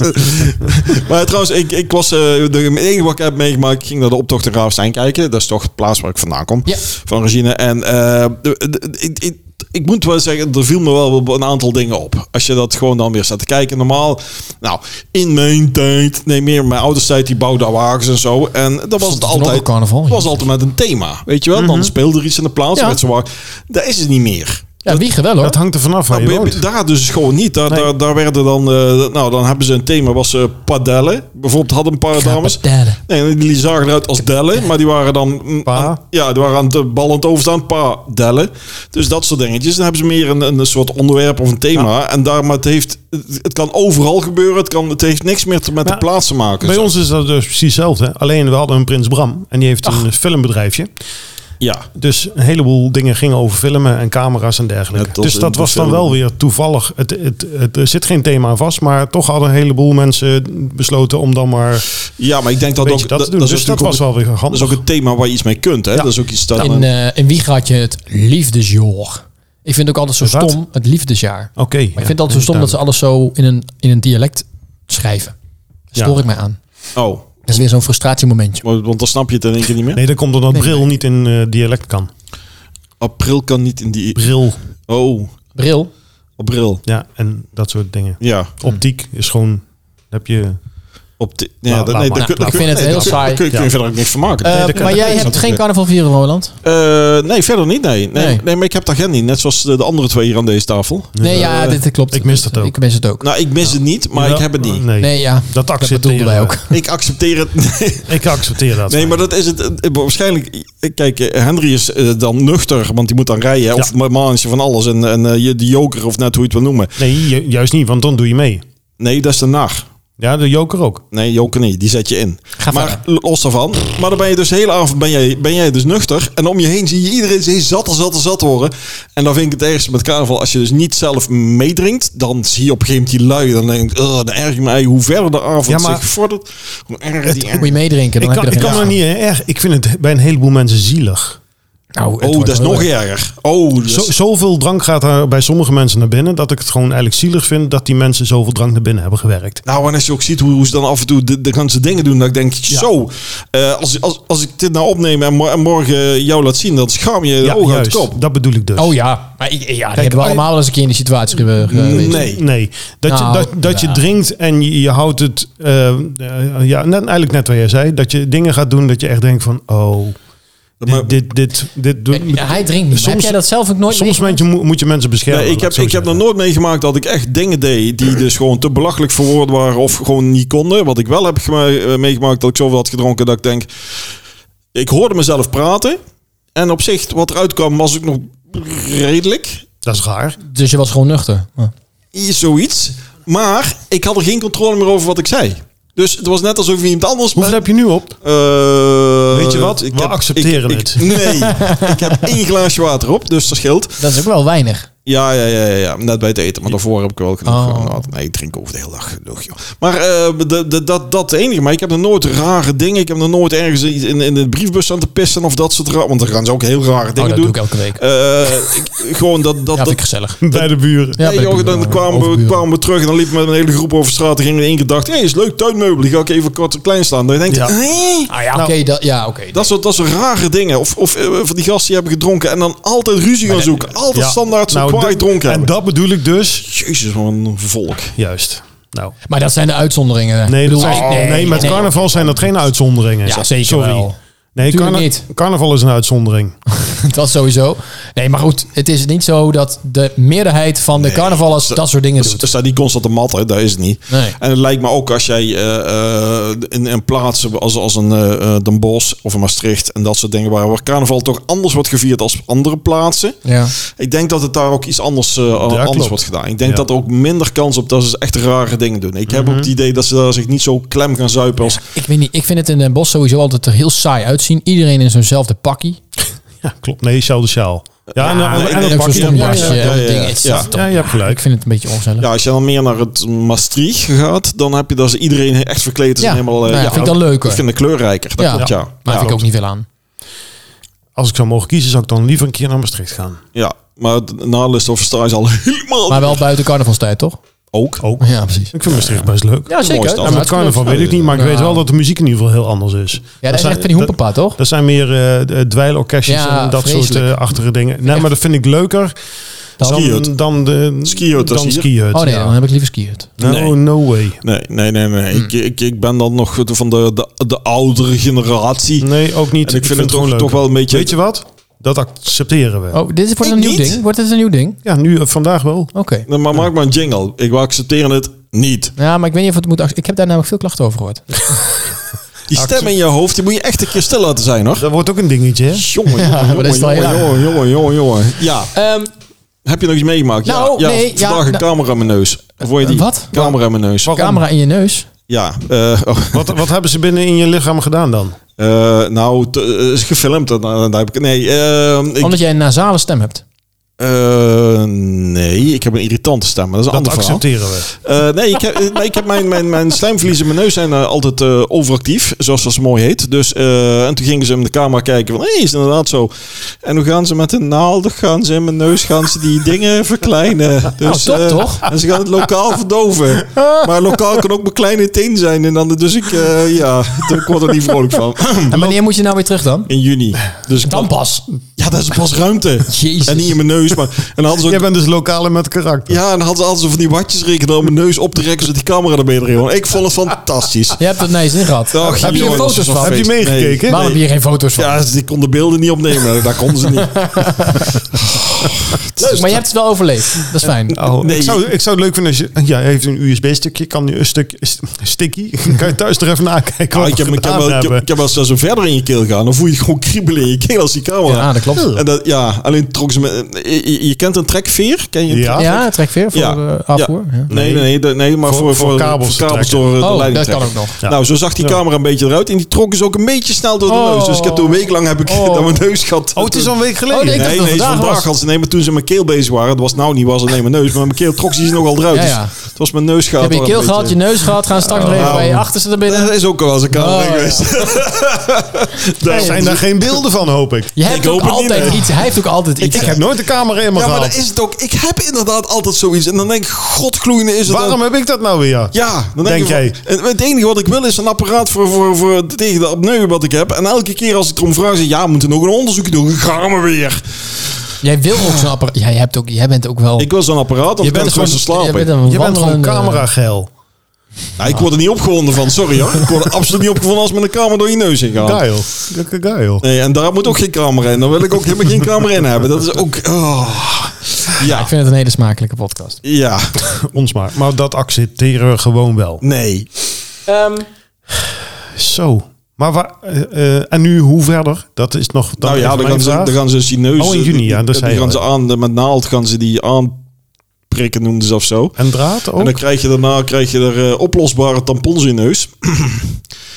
S3: maar trouwens, ik, ik was eh, de het enige wat ik heb meegemaakt. Ik ging naar de optocht in Raafstein kijken. Dat is toch de plaats waar ik vandaan kom.
S2: Ja.
S3: Van Regine. En eh, de- de- ik, ik, ik moet wel zeggen, er viel me wel een aantal dingen op. Als je dat gewoon dan weer staat te kijken. Normaal, nou, in mijn tijd, nee meer in mijn ouders tijd, die bouwden wagens en zo. En dat was het
S2: Toen ook een
S3: altijd.
S2: carnaval, Mhm.
S3: was altijd met een thema. Weet je wel? Dan speelde er iets in de plaats.
S2: Ja.
S3: Met zo'n wagen. Dat is het niet meer.
S2: Ja, wiegen wel hoor.
S1: Dat hangt er vanaf waar je
S3: Nou,
S1: woont.
S3: daar dus gewoon niet. Daar, daar, daar werden dan, eh, nou, dan hebben ze een thema, was eh padellen. Bijvoorbeeld hadden een paar dames.
S2: Padellen.
S3: Nee, die zagen eruit als dellen, maar die waren dan mm,
S1: Pa.
S3: aan- ja, die waren aan het eh, bal aan het overstaan, pa dellen. Dus dat soort dingetjes. Dan hebben ze meer een, een soort onderwerp of een thema. En daar, maar het, heeft, het, het kan overal gebeuren. Het, kan, het heeft niks meer te- met
S1: Ja.
S3: de plaats te maken.
S1: Bij ons is dat dus precies hetzelfde. hè. Alleen we hadden een Prins Bram en die heeft een filmbedrijfje.
S3: Ja.
S1: Dus een heleboel dingen gingen over filmen en camera's en dergelijke.
S3: Net als
S1: dus
S3: in
S1: dat
S3: de
S1: was dan
S3: film.
S1: wel weer toevallig. Het, het, het, er zit geen thema aan vast, maar toch hadden een heleboel mensen besloten om dan maar
S3: ja, maar ik denk dat
S1: Weet
S3: ook...
S1: je, dat te doen. Dus
S3: is
S1: dat
S3: natuurlijk
S1: was wel weer
S3: ook- Dat
S1: handig.
S3: is ook een thema waar je iets mee kunt. Hè?
S1: Ja.
S3: Dat is ook iets dat...
S2: In, eh in Wiegen had je het liefdesjoor. Ik vind het ook altijd zo
S1: Wat?
S2: stom, het liefdesjaar.
S1: oké.
S2: Maar ik vind het altijd zo stom dat ze alles zo in een, in een dialect schrijven. Daar stoor
S1: Ja.
S2: ik mij aan.
S3: oh,
S2: Dat is weer zo'n frustratiemomentje.
S3: want want dan snap je het in één keer niet meer.
S1: Nee, dat komt omdat
S2: Nee,
S1: bril niet in eh, dialect kan.
S3: April kan niet in die...
S1: Bril,
S3: Oh,
S2: Bril. Eh,
S3: april.
S1: ja, en dat soort dingen.
S3: Ja,
S1: Optiek is gewoon, heb je...
S3: op de, ja,
S1: Nou,
S3: dat,
S1: laat
S3: nee,
S1: maar.
S3: dat kun-
S2: Nou, ik
S3: dat kun-
S2: vind het
S3: nee,
S2: heel
S3: dat kun-
S2: saai.
S3: dat kun- kun
S1: Ja.
S3: je verder ook niks van maken.
S2: Eh,
S1: dat kan-
S2: maar
S1: dat
S2: jij
S1: is
S2: hebt geen
S3: natuurlijk.
S2: carnaval vieren, Roland.
S3: Eh, nee, verder niet, nee. Nee,
S2: Nee.
S3: nee. maar ik heb daar geen in. Net zoals de, de andere twee hier aan deze tafel.
S2: Nee, ja, dit klopt.
S1: eh, ik mis dat ook.
S2: Ik mis het ook.
S3: Nou, ik mis het niet, maar ik heb het niet.
S1: Nee,
S2: Nee, ja.
S1: dat eh,
S2: bedoelden
S1: accepteren
S2: wij
S1: we.
S2: ook.
S3: Ik accepteer het. Nee,
S1: Ik accepteer dat.
S3: nee, maar dat is het. eh, Waarschijnlijk, kijk, eh, Henry is eh, dan nuchter, want die moet dan rijden. hè, Of maandje van alles. En, en eh, je de joker, of net hoe je het wil noemen.
S1: Nee, ju- juist niet, want dan doe je mee.
S3: Nee, dat is de nar.
S1: Ja, de joker ook.
S3: Nee, joker niet. Die zet je in. maar los daarvan. Maar dan ben je dus de hele avond ben jij, ben jij dus nuchter. En om je heen zie je iedereen zee zat en zat en zat worden. En dan vind ik het ergste met carnaval. Als je dus niet zelf meedrinkt, dan zie je op een gegeven moment die lui. Dan denk ik, oh, dan erg ik mij. Hoe verder de avond
S1: Ja, maar-
S3: zich vordert, hoe erger die...
S2: Moet je meedrinken,
S1: Ik
S2: dan
S1: kan,
S2: heb
S1: ik
S2: je er
S1: kan er
S2: geen
S1: niet e-, erg. Ik vind het bij een heleboel mensen zielig.
S2: zin in. Nou, het
S3: Oh,
S2: wordt
S3: dat is
S2: wel
S3: nog
S2: leuk.
S3: erger. Oh, dat is-
S1: Zo, zoveel drank gaat er bij sommige mensen naar binnen dat ik het gewoon eigenlijk zielig vind dat die mensen zoveel drank naar binnen hebben gewerkt.
S3: Nou, en als je ook ziet hoe, hoe ze dan af en toe de, de ganse dingen doen, dan denk ik, zo, eh, als, als, als ik dit nou opneem en, mo- en morgen jou laat zien, dan schaam je de
S1: Ja,
S3: ogen uit de
S1: juist.
S3: kop.
S1: Dat bedoel ik dus.
S2: Oh ja. Maar ik, ja, die hebben we
S1: als-
S2: allemaal wel eens een keer in die situatie ge- geweest.
S3: Nee.
S1: oh, Nee, dat, je,
S2: Nou,
S1: dat, dat
S2: ja.
S1: je drinkt en je, je houdt het, eh, eh, ja, net, eigenlijk net wat jij zei, dat je dingen gaat doen dat je echt denkt van, oh,
S3: Maar-
S1: dit, dit, dit, dit doet-
S2: Ja, hij drinkt niet. Soms, heb
S1: Soms-
S2: jij dat zelf ook nooit
S1: Soms
S2: meegemaakt?
S1: moet je, moet je mensen beschermen.
S3: Nee, ik
S1: laat
S3: heb,
S1: het zo
S3: ik heb nog
S1: zeggen.
S3: nooit meegemaakt dat ik echt dingen deed die dus gewoon te belachelijk verwoord waren of gewoon niet konden. Wat ik wel heb geme- eh, meegemaakt dat ik zoveel had gedronken dat ik denk, ik hoorde mezelf praten en op zich wat eruit kwam was ik nog redelijk,
S1: Dat is raar.
S2: Dus je was gewoon nuchter. Ja.
S3: zoiets. Maar ik had er geen controle meer over wat ik zei. Dus het was net alsof iemand anders...
S1: Hoeveel heb je nu op?
S3: Eh,
S1: Weet je wat? We accepteren
S3: ik-
S1: het.
S3: Ik, nee, ik heb één glaasje water op, dus dat scheelt.
S2: Dat is ook wel weinig.
S3: Ja, ja, ja, ja, ja, net bij het eten. Maar daarvoor heb ik wel genoeg
S2: Oh.
S3: gehad. Nee, ik drink over de hele dag genoeg, joh. Maar eh, de- de- dat, dat enige. Maar ik heb nog nooit rare dingen. Ik heb nog nooit ergens iets in, in de briefbus aan te pissen of dat soort raar. Want dan gaan ze ook heel rare
S2: Oh,
S3: dingen
S2: dat doe
S3: doen.
S2: ik elke week.
S3: Eh, ik- gewoon dat... dat,
S2: ja, vind
S3: dat
S2: ik gezellig.
S1: Bij de buren.
S2: Ja,
S3: Nee,
S2: bij
S3: joh,
S2: buren,
S3: dan kwamen we,
S2: overburen.
S3: kwamen we terug en dan liep ik met een hele groep over straat. En gingen we in één keer dacht, hé, is leuk tuinmeubel. Die ga ik even kort en klein staan. Dan denk je,
S1: Ja.
S3: hé?
S2: Ah ja, oké. dat, ja, oké.
S3: Dat soort, dat soort rare dingen. Of, of eh, van die gasten die hebben gedronken en dan altijd ruzie gaan zoeken. Altijd
S1: Ja.
S3: standaard zo
S1: Nou,
S3: kwaai
S1: dat-
S3: dronken
S1: En
S3: hebben.
S1: dat bedoel ik dus.
S3: Jezus, wat een volk.
S1: Juist. Nou.
S2: Maar dat zijn de uitzonderingen.
S1: Nee,
S2: Ik
S1: dat
S2: bedoel,
S1: zijn- nee, met carnaval zijn dat geen uitzonderingen.
S2: Ja, zeker
S1: Sorry.
S2: wel.
S1: Nee,
S2: Tuurlijk
S1: carna-
S2: niet.
S1: carnaval is een uitzondering.
S2: Dat sowieso. Nee, maar goed. Het is niet zo dat de meerderheid van de carnavalers dat soort dingen
S3: Dus Er
S2: doet.
S3: staat niet constant een mat, hè? dat is het niet.
S2: Nee.
S3: En het lijkt me ook als jij eh, eh, in een plaats als, als een eh, eh, Den Bosch of een Maastricht en dat soort dingen waar, waar carnaval toch anders wordt gevierd als andere plaatsen.
S2: Ja.
S3: Ik denk dat het daar ook iets anders, eh, anders
S1: klopt.
S3: wordt gedaan. Ik denk
S1: Ja.
S3: dat er ook minder kans op dat ze echt rare dingen doen. Ik heb ook het idee dat ze daar zich niet zo klem gaan zuipen als...
S2: Ik weet niet. Ik vind het in Den Bosch sowieso altijd er heel saai uitzien. Iedereen in zo'nzelfde pakkie.
S1: Ja, klopt. Nee, zelfde sjaal. Ja, en,
S2: Ah,
S1: en,
S3: nee,
S1: en
S3: nee,
S1: een
S2: ook zo'n
S1: bakje.
S3: stom
S2: stombasje.
S3: Ja, ja,
S2: en
S3: ja,
S2: dingen.
S3: ja.
S2: Het is
S3: Ja.
S2: toch-
S1: Ja, je hebt gelijk.
S2: Ik vind het een beetje ongezellig.
S3: Ja, als je dan meer naar het Maastricht gaat, dan heb je dat ze iedereen echt verkleed is.
S2: Ja.
S3: en helemaal, eh,
S2: Nou ja, vind ik dan leuker.
S3: Ik vind het kleurrijker. Dat
S2: Ja.
S3: klopt, ja.
S2: Maar
S3: ja.
S2: daar heb ik ook niet veel aan.
S1: Als ik zou mogen kiezen, zou ik dan liever een keer naar Maastricht gaan.
S3: Ja, maar na List of Star is al helemaal...
S2: Maar wel buiten carnavalstijd, toch?
S3: Ook.
S1: Ook.
S2: Ja, precies.
S1: Ik vind Maastricht best leuk.
S2: Ja,
S3: Mooi
S2: zeker. Nou,
S3: is dat.
S1: en met carnaval weet ik niet, maar ik weet wel dat de muziek in ieder geval heel anders is.
S2: Ja, dat is
S1: zijn-
S2: echt van die hoepenpa, toch?
S1: Dat zijn meer eh, eh, dweilorkestjes
S2: Ja,
S1: en dat soort
S2: vreselijk.
S1: eh, achtige dingen. Nee, maar dat vind ik leuker dan,
S3: Skihut.
S1: dan de
S3: Skihut als
S1: dan
S3: hier.
S1: skihut,
S2: Oh nee,
S1: ja.
S2: dan heb ik liever skiert.
S1: No,
S3: Nee.
S1: no way.
S3: Nee, nee, nee. nee.
S2: Hmm.
S3: Ik, ik, ik ben dan nog van de, de, de oudere generatie.
S1: Nee, ook niet.
S3: En ik vind het
S1: gewoon
S3: toch- toch wel een beetje-
S1: Weet je wat? Dat accepteren we.
S2: Oh, dit is voor
S3: Ik
S2: een nieuw
S3: niet.
S2: ding? Wordt dit een nieuw ding?
S1: Ja, nu eh, vandaag wel.
S2: Oké.
S3: Nee, Maar maak maar een jingle. Ik accepteer het niet.
S2: Ja, maar ik weet niet of het moet... ac- Ik heb daar namelijk veel klachten over gehoord.
S3: Die stem in je hoofd, die moet je echt een keer stil laten zijn, hoor.
S1: Dat wordt ook een dingetje, hè?
S3: Jongen,
S2: maar
S3: jongen,
S2: dat is wel
S3: jongen,
S2: heel
S3: jongen, jongen, jongen, jongen. Ja,
S2: Ehm,
S3: heb je nog iets meegemaakt?
S2: Nou,
S3: ja, ja,
S2: nee, ja,
S3: vandaag een
S2: nou-
S3: camera in mijn neus. Of hoor je die?
S2: Wat?
S3: Camera in mijn neus.
S2: camera in je neus.
S3: Ja, eh, oh,
S1: Wat, wat hebben ze binnen in je lichaam gedaan dan?
S3: eh, nou, t- eh, is gefilmd. Dan, dan heb ik, nee, eh, ik,
S2: Omdat jij een nasale stem hebt.
S3: eh, nee, ik heb een irritante stem, maar dat is een
S1: Dat
S3: ander verhaal.
S1: accepteren we.
S3: Eh, nee, ik heb, eh, nee, ik heb mijn, mijn, mijn slijmvliezen in mijn neus zijn eh, altijd eh, overactief, zoals dat zo mooi heet. Dus, eh, en toen gingen ze in de camera kijken van, hé, hey, is het inderdaad zo. En hoe gaan ze met een naald, gaan ze in mijn neus, gaan ze die dingen verkleinen. Dus,
S2: top,
S3: eh,
S2: toch?
S3: En ze gaan het lokaal verdoven. Maar lokaal kan ook mijn kleine teen zijn. En dan, dus ik, eh, ja, ik word er niet vrolijk van.
S2: En wanneer moet je nou weer terug dan?
S3: In juni. Dus ik
S2: Dan pas.
S3: ja, dat is pas ruimte.
S2: Jezus.
S3: En niet in mijn neus, maar... En dan hadden ze ook
S1: Jij bent dus lokale met karakter.
S3: ja, en dan hadden ze altijd zo van die watjes rekenen om mijn neus op te rekken, zodat die camera erbij erin hoor. Ik vond het fantastisch.
S2: Je hebt het naar je zin gehad.
S3: Dag,
S2: heb je hier
S3: jongens,
S2: foto's
S3: dat
S2: van?
S3: was
S1: Heb je
S3: feest.
S1: meegekeken?
S2: Waarom heb je hier geen foto's van?
S3: Nee. Ja, die konden beelden niet opnemen. Daar konden ze niet.
S2: Leuk, maar je hebt het wel overleefd. Dat is fijn.
S1: Oh,
S3: Nee.
S1: ik, zou, ik zou het leuk vinden als je... Ja, hij heeft een USB-stickje. Kan nu een stuk st- sticky. Kan je thuis er even nakijken
S3: Ah,
S1: wat
S3: ik, heb,
S1: we
S3: ik, heb
S1: gedaan
S3: wel, ik, heb,
S1: hebben.
S3: ik heb wel eens zo verder in je keel gaan. Dan voel je gewoon kriebelen in je keel als die camera.
S2: Ja, dat klopt.
S3: En dat, ja, alleen trok ze me... Je, je- je kent een trekveer? Ken je een
S1: Ja.
S2: Ja, trek veer voor
S3: Ja.
S2: eh, afvoer. Ja.
S3: Nee, nee, nee, de- nee maar
S1: Voor-
S3: voor,
S1: voor kabels
S3: voor
S1: te
S3: door de
S2: Oh,
S3: leiding
S2: dat kan
S3: trekken.
S2: ook nog.
S1: Ja.
S3: Nou, zo zag die
S1: Ja.
S3: camera een beetje eruit. En die trok is ook een beetje snel door de
S2: Oh.
S3: neus. Dus ik heb toen een week lang heb ik
S2: Oh.
S3: naar mijn neus gehad.
S1: Oh, het is al een week
S2: Oh, nee,
S1: geleden.
S2: ik- dacht
S3: nee,
S2: dat
S3: nee,
S2: het vandaag
S3: vandaag,
S2: was.
S3: had ze. Nee, maar toen ze mijn keel bezig waren, het was nou niet, was het nee, mijn neus. Maar mijn keel trok ze nog al eruit.
S2: Ja, ja.
S3: Dus het was mijn neus
S2: Je
S3: gehad.
S2: hebt je keel gehad, je neus gehad. Gaan straks nog even bij je achterste naar binnen.
S3: Dat is ook wel eens een camera
S2: Oh, ja.
S3: geweest.
S1: Er
S3: dus
S1: zijn daar geen beelden van, hoop ik.
S2: Je hebt
S3: Ik
S2: ook
S3: hoop het niet,
S2: altijd
S3: nee.
S2: iets. Hij heeft ook altijd iets.
S1: Ik heb nooit de camera in me
S3: Ja, maar
S1: gehad.
S3: dat is het ook. Ik heb inderdaad altijd zoiets. En dan denk ik, godgloeiende is het ook.
S1: Waarom heb ik dat nou weer?
S3: Ja, dan
S1: Denk
S3: denk,
S1: jij?
S3: ik, van- en Het enige wat ik wil is een apparaat voor, voor, voor tegen de apneu wat ik heb. En elke keer als ik erom vraag, zeg ja, we moeten nog een onderzoekje doen. Gaan we weer.
S2: Jij wil ook zo'n apparaat. Ja, jij, hebt ook, jij bent ook wel...
S3: Ik wil zo'n apparaat, want
S2: je
S3: ik ben gewoon te slapen.
S2: Je bent een
S1: Je bent gewoon
S3: eh,
S2: wandelende-
S1: camerageil.
S3: Nou, ik word er niet opgewonden van, sorry hoor. Ik word er absoluut niet opgewonden als met een kamer door je neus heen gaat.
S1: Geil. Lekker geil.
S3: Nee, en daar moet ook geen camera in. Daar wil ik ook helemaal geen camera in hebben. Dat is ook... oh. Ja,
S2: Ik vind het een hele smakelijke podcast.
S3: ja,
S1: Ons maar. Maar dat accepteren we gewoon wel.
S3: nee.
S1: Zo. Maar waar, eh, eh, en nu hoe verder? Dat is nog. dan
S3: Nou ja,
S1: even
S3: dan
S1: mijn
S3: gaan, ze,
S1: vraag.
S3: dan gaan ze dus die neus...
S1: Oh, in juni, ja, dat
S3: die-
S1: zei
S3: die
S1: je
S3: gaan
S1: al.
S3: ze aan, de- met naald gaan ze die aanprikken, noemden ze of zo.
S1: En draad ook.
S3: En dan krijg je daarna krijg je er eh, oplosbare tampons in je neus.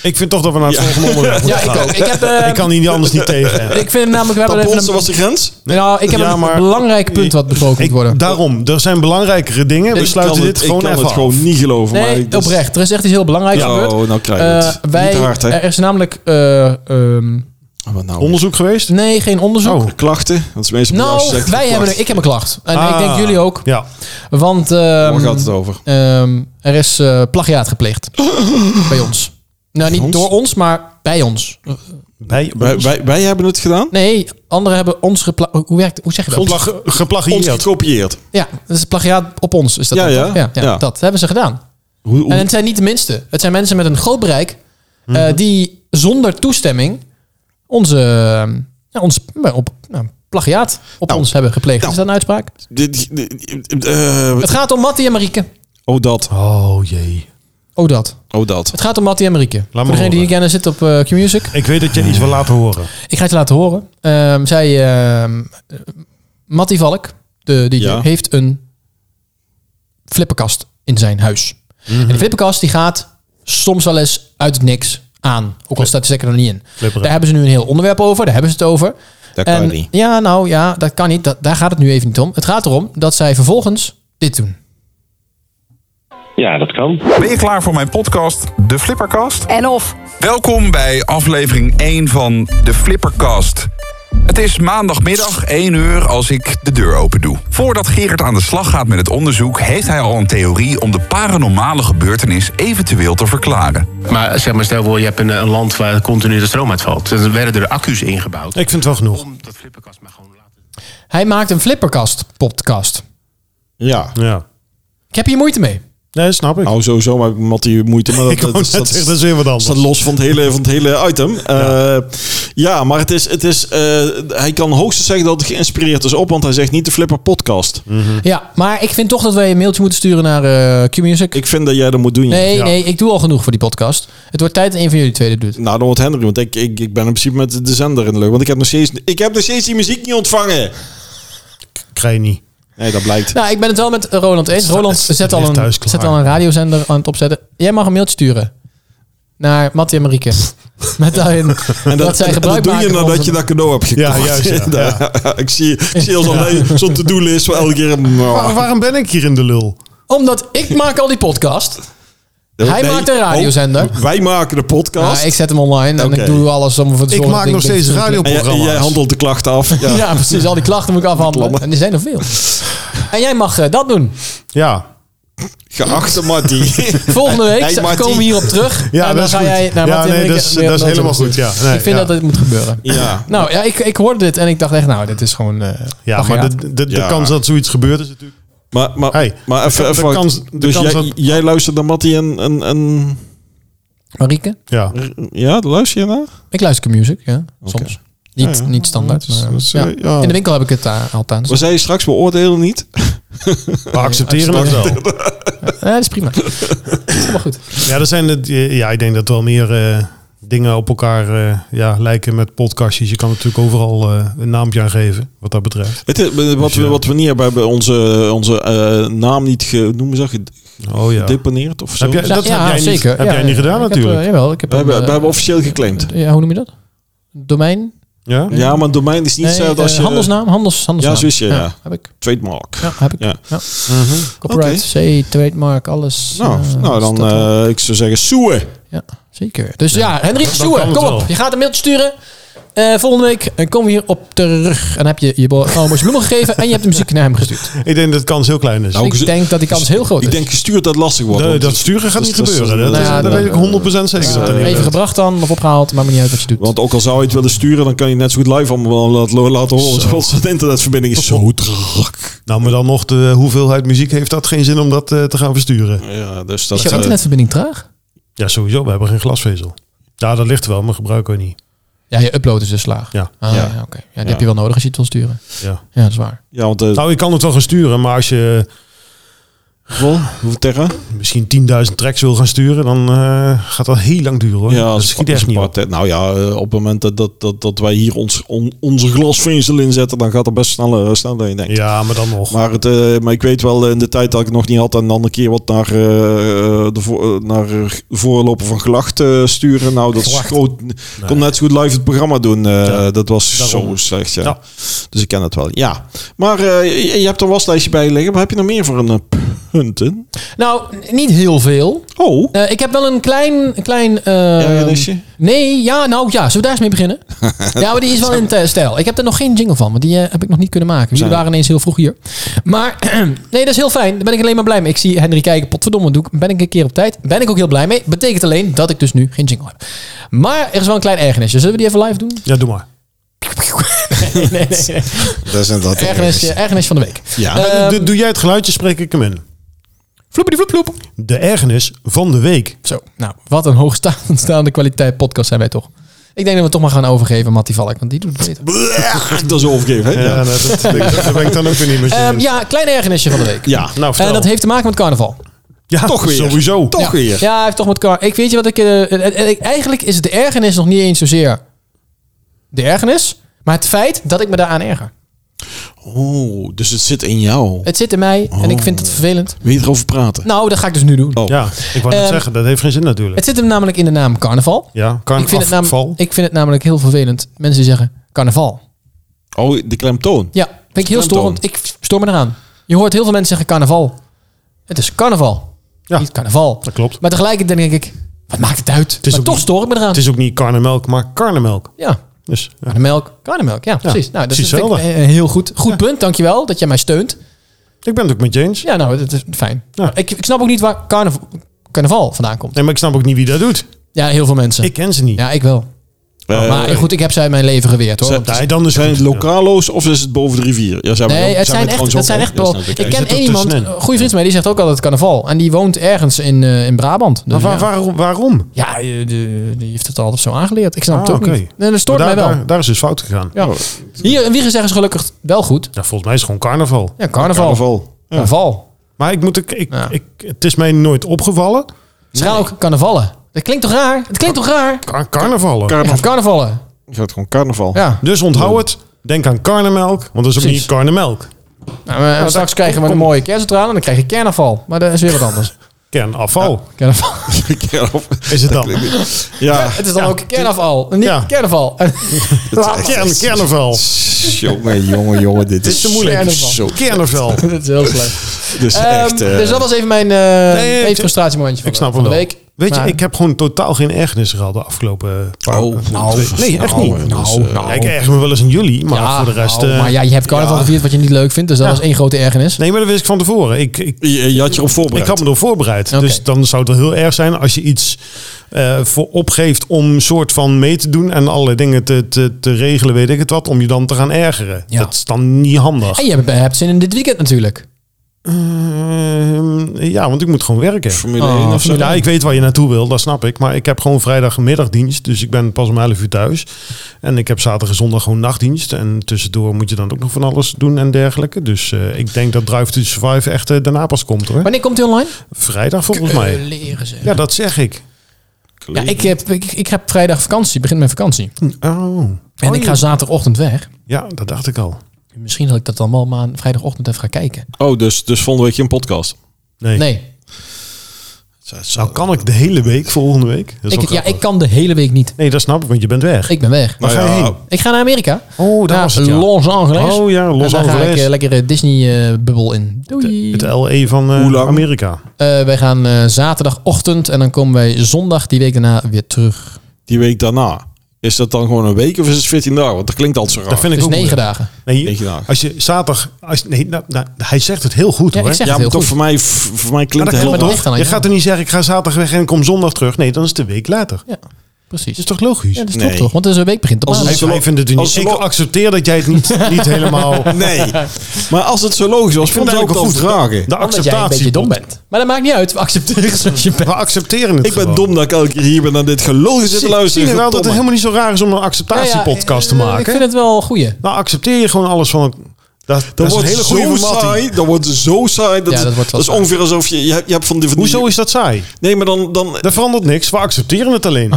S1: ik vind toch dat we naar het volgende onderwerp
S2: Ja,
S1: moeten
S2: ik
S1: gaan.
S2: ook. Ik heb...
S1: Ik
S2: eh,
S1: kan hier niet anders niet tegen.
S2: Ik vind hem namelijk... We hebben even
S3: Tampons, dat
S2: een,
S3: was de grens.
S2: nou, ik heb
S1: Ja,
S2: een
S1: maar-
S2: belangrijk punt wat besproken moet
S1: Ik-
S2: worden.
S1: daarom, er zijn belangrijkere dingen. We
S3: Ik
S1: sluiten
S3: kan
S1: dit
S3: het,
S1: gewoon
S3: ik kan
S1: even
S3: het
S1: af.
S3: gewoon niet geloven. maar
S2: Nee,
S3: ik- dus- dat-
S2: oprecht. Er is echt iets heel belangrijks
S3: Ja,
S2: gebeurd.
S3: oh, nou krijg je het.
S2: Eh, wij,
S3: Niet te hard, hè?
S2: Er is namelijk... eh, ehm,
S3: Wat nou?
S1: Onderzoek geweest?
S2: nee, geen onderzoek.
S1: Oh.
S3: Klachten? Dat is meestal bij jou
S2: nou,
S3: gezegd,
S2: wij hebben...
S3: klachten.
S2: een- Ik heb een klacht. En ik
S1: Ah.
S2: denk jullie ook.
S1: Ja.
S2: Want... ehm,
S3: Waar gaat het over?
S2: Ehm, er is eh, plagiaat gepleegd. bij ons. Nou, niet
S3: ons?
S2: door ons, maar bij ons.
S1: Bij,
S3: Wij, wij, wij hebben het gedaan.
S2: Nee, anderen hebben ons geplagiaat. Hoe, werkt, hoe zeg je dat?
S1: Plag-
S3: Ons
S1: geplagieerd.
S3: gekopieerd.
S2: Ja, dat is plagiaat op ons. Is dat
S3: Ja,
S2: dan
S3: ja.
S2: toch? Ja, ja,
S3: Ja.
S2: dat hebben ze gedaan.
S3: Hoe, hoe-
S2: En het zijn niet de minste. Het zijn mensen met een groot bereik eh,
S3: Mhm.
S2: die zonder toestemming onze, eh, ja, ons eh, op, nou, plagiaat op
S3: Nou.
S2: ons hebben gepleegd.
S3: Nou.
S2: Is dat een uitspraak?
S3: dit, dit- dit- eh,
S2: Het gaat om Mattie en Marieke.
S3: oh dat.
S1: Oh jee.
S2: Oh dat.
S3: Oh dat.
S2: Het gaat om Mattie en Marieke. Voor
S1: maar
S2: degene die
S1: horen.
S2: niet kennen zit op eh Q-Music.
S1: Ik weet dat je iets wil laten horen.
S2: Ik ga het je laten horen. Ehm, zij, ehm eh, Mattie Valk, de DJ,
S3: Ja.
S2: heeft een flipperkast in zijn huis. En die flipperkast die gaat soms wel eens uit het niks aan. Ook al staat de stekker er niet in.
S1: Flipperen.
S2: Daar hebben ze nu een heel onderwerp over. Daar hebben ze het over.
S5: Dat
S2: En-
S5: kan niet.
S2: Ja, nou ja, dat kan niet. Dat, daar gaat het nu even niet om. Het gaat erom dat zij vervolgens dit doen.
S6: Ja, dat kan.
S7: Ben je klaar voor mijn podcast, De Flippercast?
S4: En of.
S7: Welkom bij aflevering 1 van De Flippercast. Het is maandagmiddag 1 uur als ik de deur open doe. Voordat Gerard aan de slag gaat met het onderzoek, heeft hij al een theorie om de paranormale gebeurtenis eventueel te verklaren.
S8: Maar zeg maar, stel voor, je hebt een, een land waar continu de stroom uitvalt. Dan werden er accu's ingebouwd.
S1: Ik vind het wel genoeg.
S8: Om dat flipperkast maar gewoon laten.
S2: Hij maakt een flipperkast podcast.
S3: Ja.
S1: Ja.
S2: Ik heb hier moeite mee.
S1: Nee, snap ik.
S3: Nou, sowieso maar met die moeite. Maar
S1: Ik wou
S3: dat, dat,
S1: net
S3: dat,
S1: zeggen, Oh, dat is weer wat anders.
S3: staat los van het hele, van het hele item. Eh, ja. maar het is, het is, eh, hij kan hoogstens zeggen dat het geïnspireerd is op, want hij zegt niet de Flipper podcast.
S2: Ja, maar ik vind toch dat wij een mailtje moeten sturen naar eh Q-Music.
S3: Ik vind dat jij dat moet doen. ja.
S2: Nee, nee, ik doe al genoeg voor die podcast. Het wordt tijd dat een van jullie twee dit doet.
S3: Nou, dan wordt Henry, want ik, ik, ik ben in principe met de zender in de lucht. Want ik heb nog steeds, ik heb nog steeds die muziek niet ontvangen.
S1: Krijg je niet.
S3: Nee, dat blijkt.
S2: Nou, ik ben het wel met eh, Roland eens. Roland
S1: het
S2: zet
S1: ligt
S2: al, een,
S1: thuis klaar.
S2: zet al een radiozender aan het opzetten. Jij mag een mailtje sturen. Naar Mattie en Marieke. Met daarin dat, zij
S3: en
S2: gebruik
S3: dat doe je
S2: maken van
S3: nadat
S2: onze-
S3: je dat cadeau hebt gekocht.
S1: Ja, juist, ja.
S3: ik zie, ik zie al zo'n zo'n to-do-list waar elke keer... Nou, een-
S1: Waar- waarom ben ik hier in de lul?
S2: Omdat ik maak al die podcast. Hij
S3: Nee,
S2: maakt een radiozender.
S3: oh, wij maken de podcast.
S2: Ja, ik zet hem online en ik
S3: Oké.
S2: doe alles om ervoor te
S1: Ik
S2: zorgen.
S1: maak
S2: dat
S1: nog
S2: ding-
S1: steeds
S3: en jij, en
S1: radioprogramma's.
S3: jij handelt de klachten af. Ja.
S2: Ja. precies. Al die klachten moet ik afhandelen.
S3: Klappen.
S2: En die zijn er veel. En jij mag eh, dat doen.
S1: Ja.
S3: Geachte Mattie.
S2: Volgende week
S3: Hey,
S2: z-
S3: Martie.
S2: komen we hierop terug.
S1: Ja,
S2: en dan
S1: dat is
S2: ga
S1: goed.
S2: jij naar
S1: Ja,
S2: Mattie en
S1: nee,
S2: Marieke
S1: dat is-
S2: weer
S1: dat is
S2: een
S1: helemaal goed,
S2: mailtje
S1: ja.
S2: sturen.
S1: Nee,
S2: ik vind
S1: ja.
S2: dat dit moet gebeuren.
S3: ja.
S2: Nou ja, ik, ik hoorde dit en ik dacht echt, nou, dit is gewoon. eh,
S1: Ja,
S2: ach,
S1: maar de, de, de
S3: Ja.
S1: kans dat zoiets gebeurt is natuurlijk...
S3: Maar, maar,
S1: Hey,
S3: maar even...
S1: de-
S3: even
S1: de
S3: wacht.
S1: kans- de
S3: dus
S1: kans
S3: jij,
S1: dat-
S3: jij luistert naar Mattie en, en, en...
S2: Marieke,
S1: Ja.
S3: Ja, luister je naar?
S2: ik luister naar music, ja, soms. Niet,
S3: Ja, ja.
S2: niet standaard.
S3: Dat is-
S2: maar,
S3: dat is,
S2: ja.
S3: eh, ja.
S2: In de winkel heb ik het eh, altijd.
S3: Wat zei je straks? Beoordelen niet?
S1: We accepteren het wel.
S2: Ja, dat is prima. dat is helemaal goed.
S1: Ja, er zijn het, ja, ik denk dat wel meer eh, dingen op elkaar eh, ja, lijken met podcastjes. Je kan natuurlijk overal eh, een naampje aan geven, wat dat betreft.
S3: Het is- wat, we,
S1: ja.
S3: wat we niet hebben, hebben onze, onze eh, naam niet ge, noemen ze, dat,
S1: Oh ja.
S3: gedeponeerd of zo.
S1: Heb jij-
S3: we,
S2: Nou,
S1: dat heb jij niet- heb jij niet gedaan
S2: ik heb,
S1: natuurlijk.
S2: eh, jawel, ik heb
S3: hebben,
S2: een,
S3: we
S2: eh,
S3: hebben officieel geclaimd.
S2: Ja, hoe noem je dat? Domein?
S1: Ja?
S3: Ja, maar domein is niet
S2: Nee,
S3: zo dat als
S2: eh,
S3: je...
S2: handelsnaam? Handels, handelsnaam.
S3: Ja, zo is je, ja.
S2: Heb ik.
S3: Trademark.
S2: Ja, heb ik.
S3: Ja.
S2: Ja.
S1: Mhm.
S2: Copyright, C, trademark, alles.
S3: Nou,
S2: eh,
S3: nou dan
S2: staat er.
S3: eh, ik zou zeggen soe.
S2: Ja, zeker. Dus ja, Henry
S1: kan
S2: Soer,
S1: het
S2: kom
S1: wel.
S2: op. Je gaat een mailtje sturen. Eh, volgende week eh, komen we hier op terug. En dan heb je je bo- oh, moest je bloemen gegeven en je hebt de muziek naar hem gestuurd.
S1: Ik denk dat de kans heel klein is.
S3: Nou,
S2: ik
S3: gez-
S2: denk dat die kans heel groot is.
S3: Ik denk gestuurd dat lastig wordt.
S1: Nee,
S3: want-
S1: dat sturen gaat
S3: dat-
S1: niet
S3: dat-
S1: gebeuren.
S3: dat-
S1: Dat,
S2: Nou Ja,
S1: daar
S2: dat-
S1: weet ik 100% zeker. dat dat niet
S2: Even
S1: gebeurt.
S2: gebracht dan, of opgehaald, maakt me niet uit wat je doet.
S3: Want ook al zou je het willen sturen, dan kan je net zo goed live allemaal laten, laten horen. Zoals de internetverbinding is zo druk.
S1: Nou, maar dan nog de hoeveelheid muziek heeft dat geen zin om dat eh, te gaan versturen.
S3: Ja, dus dat...
S2: is jouw
S3: eh,
S2: internetverbinding traag?
S1: Ja, sowieso. We hebben geen glasvezel. Ja, dat ligt wel, maar gebruiken we niet.
S2: Ja, je upload is dus laag.
S1: Ja.
S2: Ah,
S3: Ja.
S2: ja, oké. ja die heb je wel nodig als je het wil sturen.
S1: Ja.
S2: Ja, dat is waar.
S3: ja, want eh
S1: Nou, je kan het wel gaan sturen, maar als je
S3: vol, hoeveel terra?
S1: misschien 10.000 tracks wil gaan sturen, dan eh, gaat dat heel lang duren hoor.
S3: Ja,
S1: dat
S3: als
S1: schiet echt niet op.
S3: Nou ja, eh, op het moment dat, dat, dat, dat wij hier ons, on- onze glasvezel inzetten, dan gaat het best sneller, eh, sneller dan je denkt.
S1: Ja, maar dan nog.
S3: Maar, het, eh, maar ik weet wel eh, in de tijd dat ik het nog niet had en dan een keer wat naar, eh, de, voor, eh, naar eh, voorlopen van gelacht eh, sturen. Nou, dat
S1: Gelacht.
S3: schoot, kon net zo goed live het programma doen. eh, dat was
S1: daarom.
S3: zo slecht. Ja.
S1: Ja.
S3: Dus ik ken het wel. Ja, maar eh, je, je hebt een waslijstje bij je liggen. Wat heb je nog meer voor een eh, punten?
S2: Nou, n- niet heel veel.
S3: Oh,
S2: Eh, ik heb wel een klein... Een klein eh,
S3: Ergernisje?
S2: Nee, ja, nou ja. Zullen we daar eens mee beginnen? ja, maar die is wel in eh, stijl. Ik heb er nog geen jingle van, want die eh, heb ik nog niet kunnen maken. Jullie
S3: Zijn-
S2: waren ineens heel vroeg hier. Maar nee, dat is heel fijn. Daar ben ik alleen maar blij mee. Ik zie Henry kijken, potverdomme, doe ik, ben ik een keer op tijd. Ben ik ook heel blij mee. Betekent alleen dat ik dus nu geen jingle heb. Maar er is wel een klein ergernisje. Zullen we die even live doen?
S1: Ja, doe maar.
S2: nee, nee, nee.
S5: Dat is inderdaad
S2: Ergernisje, ergernis van de week.
S3: ja.
S2: Ehm,
S1: Eh, doe, doe jij het geluidje, spreek ik hem in.
S2: Vloepity vloep vloep.
S1: De ergernis van de week.
S2: Zo, nou, wat een hoogstaande kwaliteit podcast zijn wij toch. Ik denk dat we toch maar gaan overgeven aan Mattie Valk, want die doet het beter.
S3: dat is overgeven. Hè?
S1: Ja,
S3: Ja.
S1: nou, dat, daar ben ik dan ook weer niet meer zin
S2: Ehm,
S1: in.
S2: ja, klein ergernisje van de week.
S3: Ja.
S1: Nou,
S2: En
S1: vertel.
S2: dat heeft te maken met carnaval.
S1: ja,
S3: toch weer.
S1: Sowieso.
S3: Toch
S2: ja.
S3: weer.
S2: Ja, hij heeft toch met carnaval. Ik weet je wat ik, eh, eh, eh, Eigenlijk is de ergernis nog niet eens zozeer de ergernis, maar het feit dat ik me daaraan erger.
S3: Oh, dus het zit in jou.
S2: Het zit in mij en ik vind het
S1: Oh.
S2: vervelend.
S3: Wil je erover praten?
S2: Nou, dat ga ik dus nu doen.
S3: Oh.
S1: Ja, ik wou net
S2: Ehm,
S1: zeggen, dat heeft geen zin natuurlijk.
S2: Het zit hem namelijk in de naam carnaval.
S1: ja, kan
S2: Ik vind, het
S1: afval.
S2: namelijk, ik vind het namelijk heel vervelend. Mensen die zeggen carnaval.
S3: Oh, de klemtoon.
S2: Ja, vind ik heel
S3: Klemtoon.
S2: storend. Ik stoor me eraan. Je hoort heel veel mensen zeggen carnaval. Het is carnaval.
S1: Ja.
S2: Niet carnaval.
S1: Dat klopt.
S2: Maar tegelijkertijd denk ik, wat maakt het uit?
S1: is
S2: maar
S1: ook
S2: toch
S1: niet-
S2: stoor ik me eraan.
S1: Het is ook niet karnemelk, maar karnemelk.
S2: Ja,
S1: Dus ja.
S2: karnemelk. Karnemelk, ja, precies. Nou, dat
S1: precies
S2: is vind ik,
S1: hetzelfde.
S2: eh, heel goed. Goed punt, dankjewel dat jij mij steunt.
S1: ik ben het ook met je eens.
S2: Ja, nou, dat is fijn.
S1: Ja.
S2: Ik, ik snap ook niet waar carnaval, carnaval vandaan komt.
S1: Nee, maar ik snap ook niet wie dat doet.
S2: Ja, heel veel mensen.
S1: Ik ken ze niet.
S2: Ja, ik wel.
S3: Eh,
S2: maar goed, ik heb ze uit mijn leven geweerd hoor.
S3: Ze-
S2: Want-
S1: Nee, dan dus is
S3: zijn het
S1: goed.
S3: lokalo's of is het boven de rivier? Ja, zijn we
S2: Nee,
S3: dan-
S2: het zijn
S3: we
S2: echt,
S3: trouwens
S2: het zijn
S3: ook al.
S2: echt
S3: Ja,
S2: wel.
S3: snap
S2: Ik
S1: Je
S2: ken
S1: zit er
S2: één iemand, een
S1: tussenin.
S2: goede vriend van mij, die zegt ook altijd carnaval. En die woont ergens in, eh, in Brabant. Dus
S1: Maar waar-
S2: ja.
S1: waar- waarom?
S2: Ja, eh, de- die heeft het altijd zo aangeleerd. Ik snap het
S1: Ah,
S2: ook
S1: oké.
S2: niet. Nee, dat stoort
S1: Maar
S2: mij
S1: daar,
S2: wel.
S1: Daar, daar is dus fout gegaan.
S2: ja. Hier in Wiegen zeggen ze gelukkig wel goed.
S1: Ja, volgens mij is het gewoon carnaval.
S2: Ja, carnaval. Carnaval.
S3: Carnaval.
S1: Maar ik moet, ik, ik,
S2: Ja.
S1: ik, het is mij nooit opgevallen.
S2: Ze gaan ook carnavallen. Dat klinkt toch raar? Het klinkt toch raar?
S1: Kar- carnavallen.
S2: Ja,
S3: Carnaval.
S2: carnavallen.
S3: Ik had gewoon carnaval.
S2: Ja.
S1: dus onthoud het. Denk aan karnemelk, want dat is ook
S2: Precies.
S1: niet karnemelk.
S2: Nou, maar straks krijgen we een mooie kerncentrale en dan krijg je carnaval. Maar dat is weer wat anders.
S1: Kernafval
S2: Carnaval.
S3: Carnaval.
S1: is het dan.
S3: Ja,
S2: Het is dan ook kernafval. Niet
S1: Ja.
S2: carnaval.
S1: Kern, kernaval.
S3: jongen, jongen, jongen, dit is
S1: te moeilijk.
S2: Carnaval.
S3: Zo,
S1: Kernaval.
S2: Dat is heel slecht.
S3: dit is
S2: Ehm,
S3: echt. eh,
S2: dus dat was even mijn eh
S1: Nee,
S2: even
S1: ik-
S2: frustratiemomentje van,
S1: Ik snap
S2: van
S1: hem
S2: de
S1: wel.
S2: week.
S1: Weet je,
S2: Maar-
S1: ik heb gewoon totaal geen ergernis gehad de afgelopen paar
S3: Oh,
S1: twee- Nee, echt
S3: nou,
S1: niet.
S3: eh, dus, eh,
S1: Ja, ik erger me wel eens aan jullie, maar
S2: Ja,
S1: voor de rest...
S2: nou,
S1: eh,
S2: maar ja, je hebt carnaval gevierd wat je niet leuk vindt, dus dat
S1: Ja.
S2: was één grote ergernis.
S1: Nee, maar dat wist ik van tevoren. Ik, ik,
S3: je, je had je erop
S1: ik
S3: voorbereid.
S1: had me erop voorbereid.
S2: Oké.
S1: Dus dan zou het wel heel erg zijn als je iets eh, voor opgeeft om soort van mee te doen en allerlei dingen te, te, te regelen, weet ik het wat, om je dan te gaan ergeren.
S2: Ja.
S1: Dat is dan niet handig.
S2: En Ah, je hebt, hebt zin in dit weekend natuurlijk.
S1: Ehm, ja, want ik moet gewoon werken.
S3: Formule
S2: Oh,
S3: 1 of zo.
S1: Ja, ik weet waar je naartoe wil, dat snap ik. Maar ik heb gewoon vrijdagmiddagdienst, dus ik ben pas om 11 uur thuis. En ik heb zaterdag en zondag gewoon nachtdienst. En tussendoor moet je dan ook nog van alles doen en dergelijke. Dus eh, ik denk dat Drive to Survive echt eh, daarna pas komt hoor.
S2: Wanneer komt hij online?
S1: Vrijdag volgens mij.
S2: leren ze.
S1: Ja, dat zeg ik.
S2: Ja, ik, heb, ik, ik heb vrijdag vakantie, begin mijn vakantie.
S1: Oh,
S2: En ik ga zaterdagochtend weg.
S1: ja, dat dacht ik al.
S2: Misschien dat ik dat dan wel maar aan vrijdagochtend even ga kijken.
S3: Oh, dus, dus volgende week je een podcast.
S1: Nee.
S2: Nee,
S1: Nou kan ik de hele week volgende week. Dat is wel
S2: ik, ja,
S1: grappig.
S2: ik kan de hele week niet.
S1: Nee, dat snap ik, want je bent weg.
S2: Ik ben weg.
S3: Nou
S1: Waar ga je heen?
S2: Ik ga naar Amerika.
S1: Oh, daar
S2: naar
S1: was het, ja.
S2: Los Angeles.
S1: Oh ja, Los
S2: en daar ga ik
S1: Angeles.
S2: eh, lekker eh, Disney-bubbel in. Doei.
S1: Het LE van eh,
S3: Hoe lang?
S1: Amerika.
S2: Eh, wij gaan eh, zaterdagochtend en dan komen wij zondag die week daarna weer terug.
S3: Die week daarna. Is dat dan gewoon een week of is het 14 dagen? Want dat klinkt altijd zo raar.
S1: Dat vind ik
S2: Dus
S1: ook
S2: negen
S1: moeilijk.
S2: dagen.
S1: Nee,
S3: Negen dagen.
S1: als je zaterdag... Als, nee, nou, nou, hij zegt het heel goed
S2: Ja,
S1: hoor.
S2: ik zeg
S3: ja,
S2: het heel
S3: maar toch
S2: goed.
S3: voor mij, voor voor mij
S1: Maar
S3: klinkt
S1: dat
S3: het
S1: klopt
S3: heel
S2: helemaal
S1: toch?
S2: niet echt aan,
S1: je
S2: ja.
S1: gaat er niet zeggen, ik ga zaterdag weg en ik kom zondag terug. Nee, dan is het een week later.
S2: Ja, precies.
S1: Dat is toch logisch?
S2: ja, dat is
S3: Nee.
S2: toch toch? Want dus een week begint op
S3: Als
S2: maandag.
S1: Hij, hij vindt het niet.
S3: Als-
S1: Ik accepteer dat jij het niet, niet helemaal...
S3: Nee. Maar als het zo logisch was,
S1: Ik vind
S3: vond
S1: het
S3: ik ook
S1: eigenlijk wel
S3: goed
S1: goed.
S3: vragen.
S1: De
S2: Omdat jij een beetje
S1: acceptatie.
S2: dom bent. Maar dat maakt niet uit. We accepteren het zoals je bent.
S1: We accepteren het
S3: Ik ben
S1: gewoon.
S3: dom dat ik elke keer hier ben naar dit gelul zit te
S1: Zie- Zie
S3: luisteren.
S1: je wel dat het
S3: Goddomme.
S1: helemaal niet zo raar is om een
S2: Nou ja,
S1: acceptatiepodcast
S2: eh,
S1: te maken?
S2: Ik vind het wel een goeie.
S1: Nou, accepteer je gewoon alles van... het- Dat, dat,
S3: Dat
S1: is een
S3: wordt
S1: hele
S3: zo
S1: goede
S3: saai.
S1: formatie.
S3: Dat wordt zo saai. Dat,
S2: Ja,
S3: is-
S2: dat
S3: dat,
S2: wordt wel
S3: is
S2: saai.
S3: ongeveer alsof je... Je hebt, je hebt van die, van die-
S1: Hoezo is dat saai?
S3: Nee, maar dan... dan
S1: Er verandert niks. We accepteren het alleen.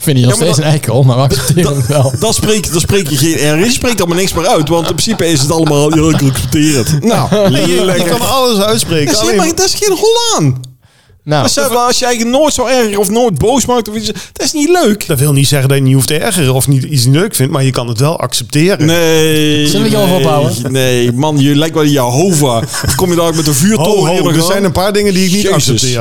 S2: Vind je nog
S3: Ja, maar
S2: steeds een eikel, maar we accepteren het wel.
S3: dan spreek, dan spreek je geen erg. Je spreekt allemaal niks meer uit. Want in principe is het allemaal... Ja, ik accepteer het. Nou,
S1: Nee, je, je
S3: lekker.
S1: kan alles uitspreken.
S3: Dat is,
S1: alleen-
S3: helemaal- dat is geen Holland.
S2: Nou,
S3: Als jij, als jij je nooit zo erg of nooit boos maakt of iets... Dat is niet leuk.
S1: dat wil niet zeggen dat je niet hoeft te ergeren of niet iets leuk vindt, maar je kan het wel accepteren.
S3: Nee.
S2: Zullen we Jehovah
S3: nee,
S2: ophouden?
S3: Nee, man, je lijkt wel Jehovah. Of kom je daar ook met een vuurtoren?
S1: Ho,
S3: hier
S1: ho,
S3: nog
S1: er
S3: aan?
S1: zijn een paar dingen die ik niet
S3: Jezus.
S1: accepteer.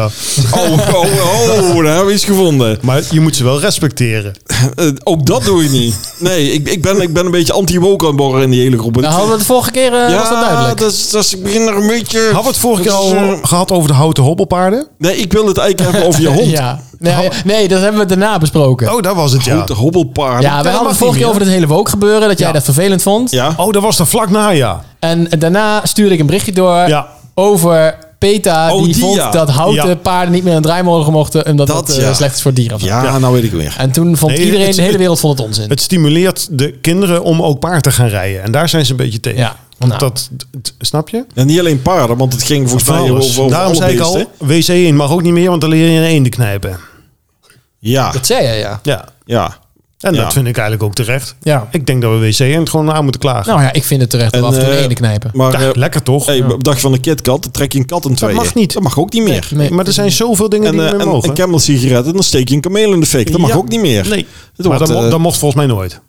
S3: Oh, oh, oh, daar hebben we iets gevonden.
S1: Maar je moet ze wel respecteren.
S3: Eh, ook dat doe je niet. Nee, ik, ik, ben, ik ben een beetje anti-woke aan het borrelen in die hele groep.
S2: nou hadden we het vorige keer eh, was dat duidelijk.
S3: dat is, dat is, ik begin er een beetje...
S1: Hadden we het vorige keer
S3: Dat is,
S1: al
S3: eh,
S1: gehad over de houten hobbelpaarden?
S3: Nee, ik wil het eigenlijk hebben over je hond.
S2: Ja. Nee, nee, dat hebben we daarna besproken.
S1: Oh, dat was het, ja.
S3: Goed, hobbelpaard.
S2: ja, we
S1: dat
S2: hadden
S1: mag
S2: het vorige
S1: niet
S2: keer over
S1: meer.
S2: het hele woke gebeuren. Dat jij
S1: Ja.
S2: dat vervelend vond.
S3: Ja.
S1: Oh, dat was er vlak na, ja.
S2: En daarna stuurde ik een berichtje door
S1: Ja.
S2: over PETA.
S3: Oh,
S2: die,
S3: die,
S2: vond
S3: ja.
S2: dat houten
S1: Ja.
S2: paarden niet meer een draaimolen mochten. Omdat dat,
S3: Dat,
S2: eh,
S3: ja.
S2: slecht is voor dieren.
S3: Ja, nou weet ik het weer.
S2: En toen vond
S1: Nee,
S2: iedereen,
S1: het-
S2: de hele
S1: het-
S2: wereld vond het onzin.
S1: Het stimuleert de kinderen om ook paard te gaan rijden. En daar zijn ze een beetje tegen.
S2: Ja,
S1: Want
S2: nou.
S1: dat, d- snap je?
S3: En niet alleen paarden, want het ging volgens mij over, over
S1: Daarom
S3: alle
S1: zei ik
S3: beesten.
S1: al, wc in mag ook niet meer, want dan leer je een eenden knijpen.
S3: Ja,
S2: dat zei je, ja.
S1: Ja.
S3: ja.
S1: En
S3: Ja.
S1: dat vind ik eigenlijk ook terecht.
S2: Ja.
S1: Ik denk dat we wc in gewoon aan moeten klagen.
S2: Nou ja, ik vind het terecht dat we af en toe
S3: eh,
S2: de ene knijpen.
S3: Maar
S1: Ja,
S3: eh,
S1: lekker toch?
S3: hey, op dag van de KitKat, dan trek je een kat in tweeën.
S1: mag niet.
S3: Dat mag ook niet meer.
S2: Nee.
S1: maar er zijn zoveel dingen
S3: En,
S1: die
S3: eh,
S1: niet meer
S3: en,
S1: mogen.
S3: en Camel sigaretten, dan steek je een kameel in de fik. Dat mag
S1: Ja.
S3: ook niet meer.
S1: Nee,
S3: Dat
S1: maar
S3: wordt,
S1: dat, mo-
S3: eh,
S1: dat mocht volgens mij nooit.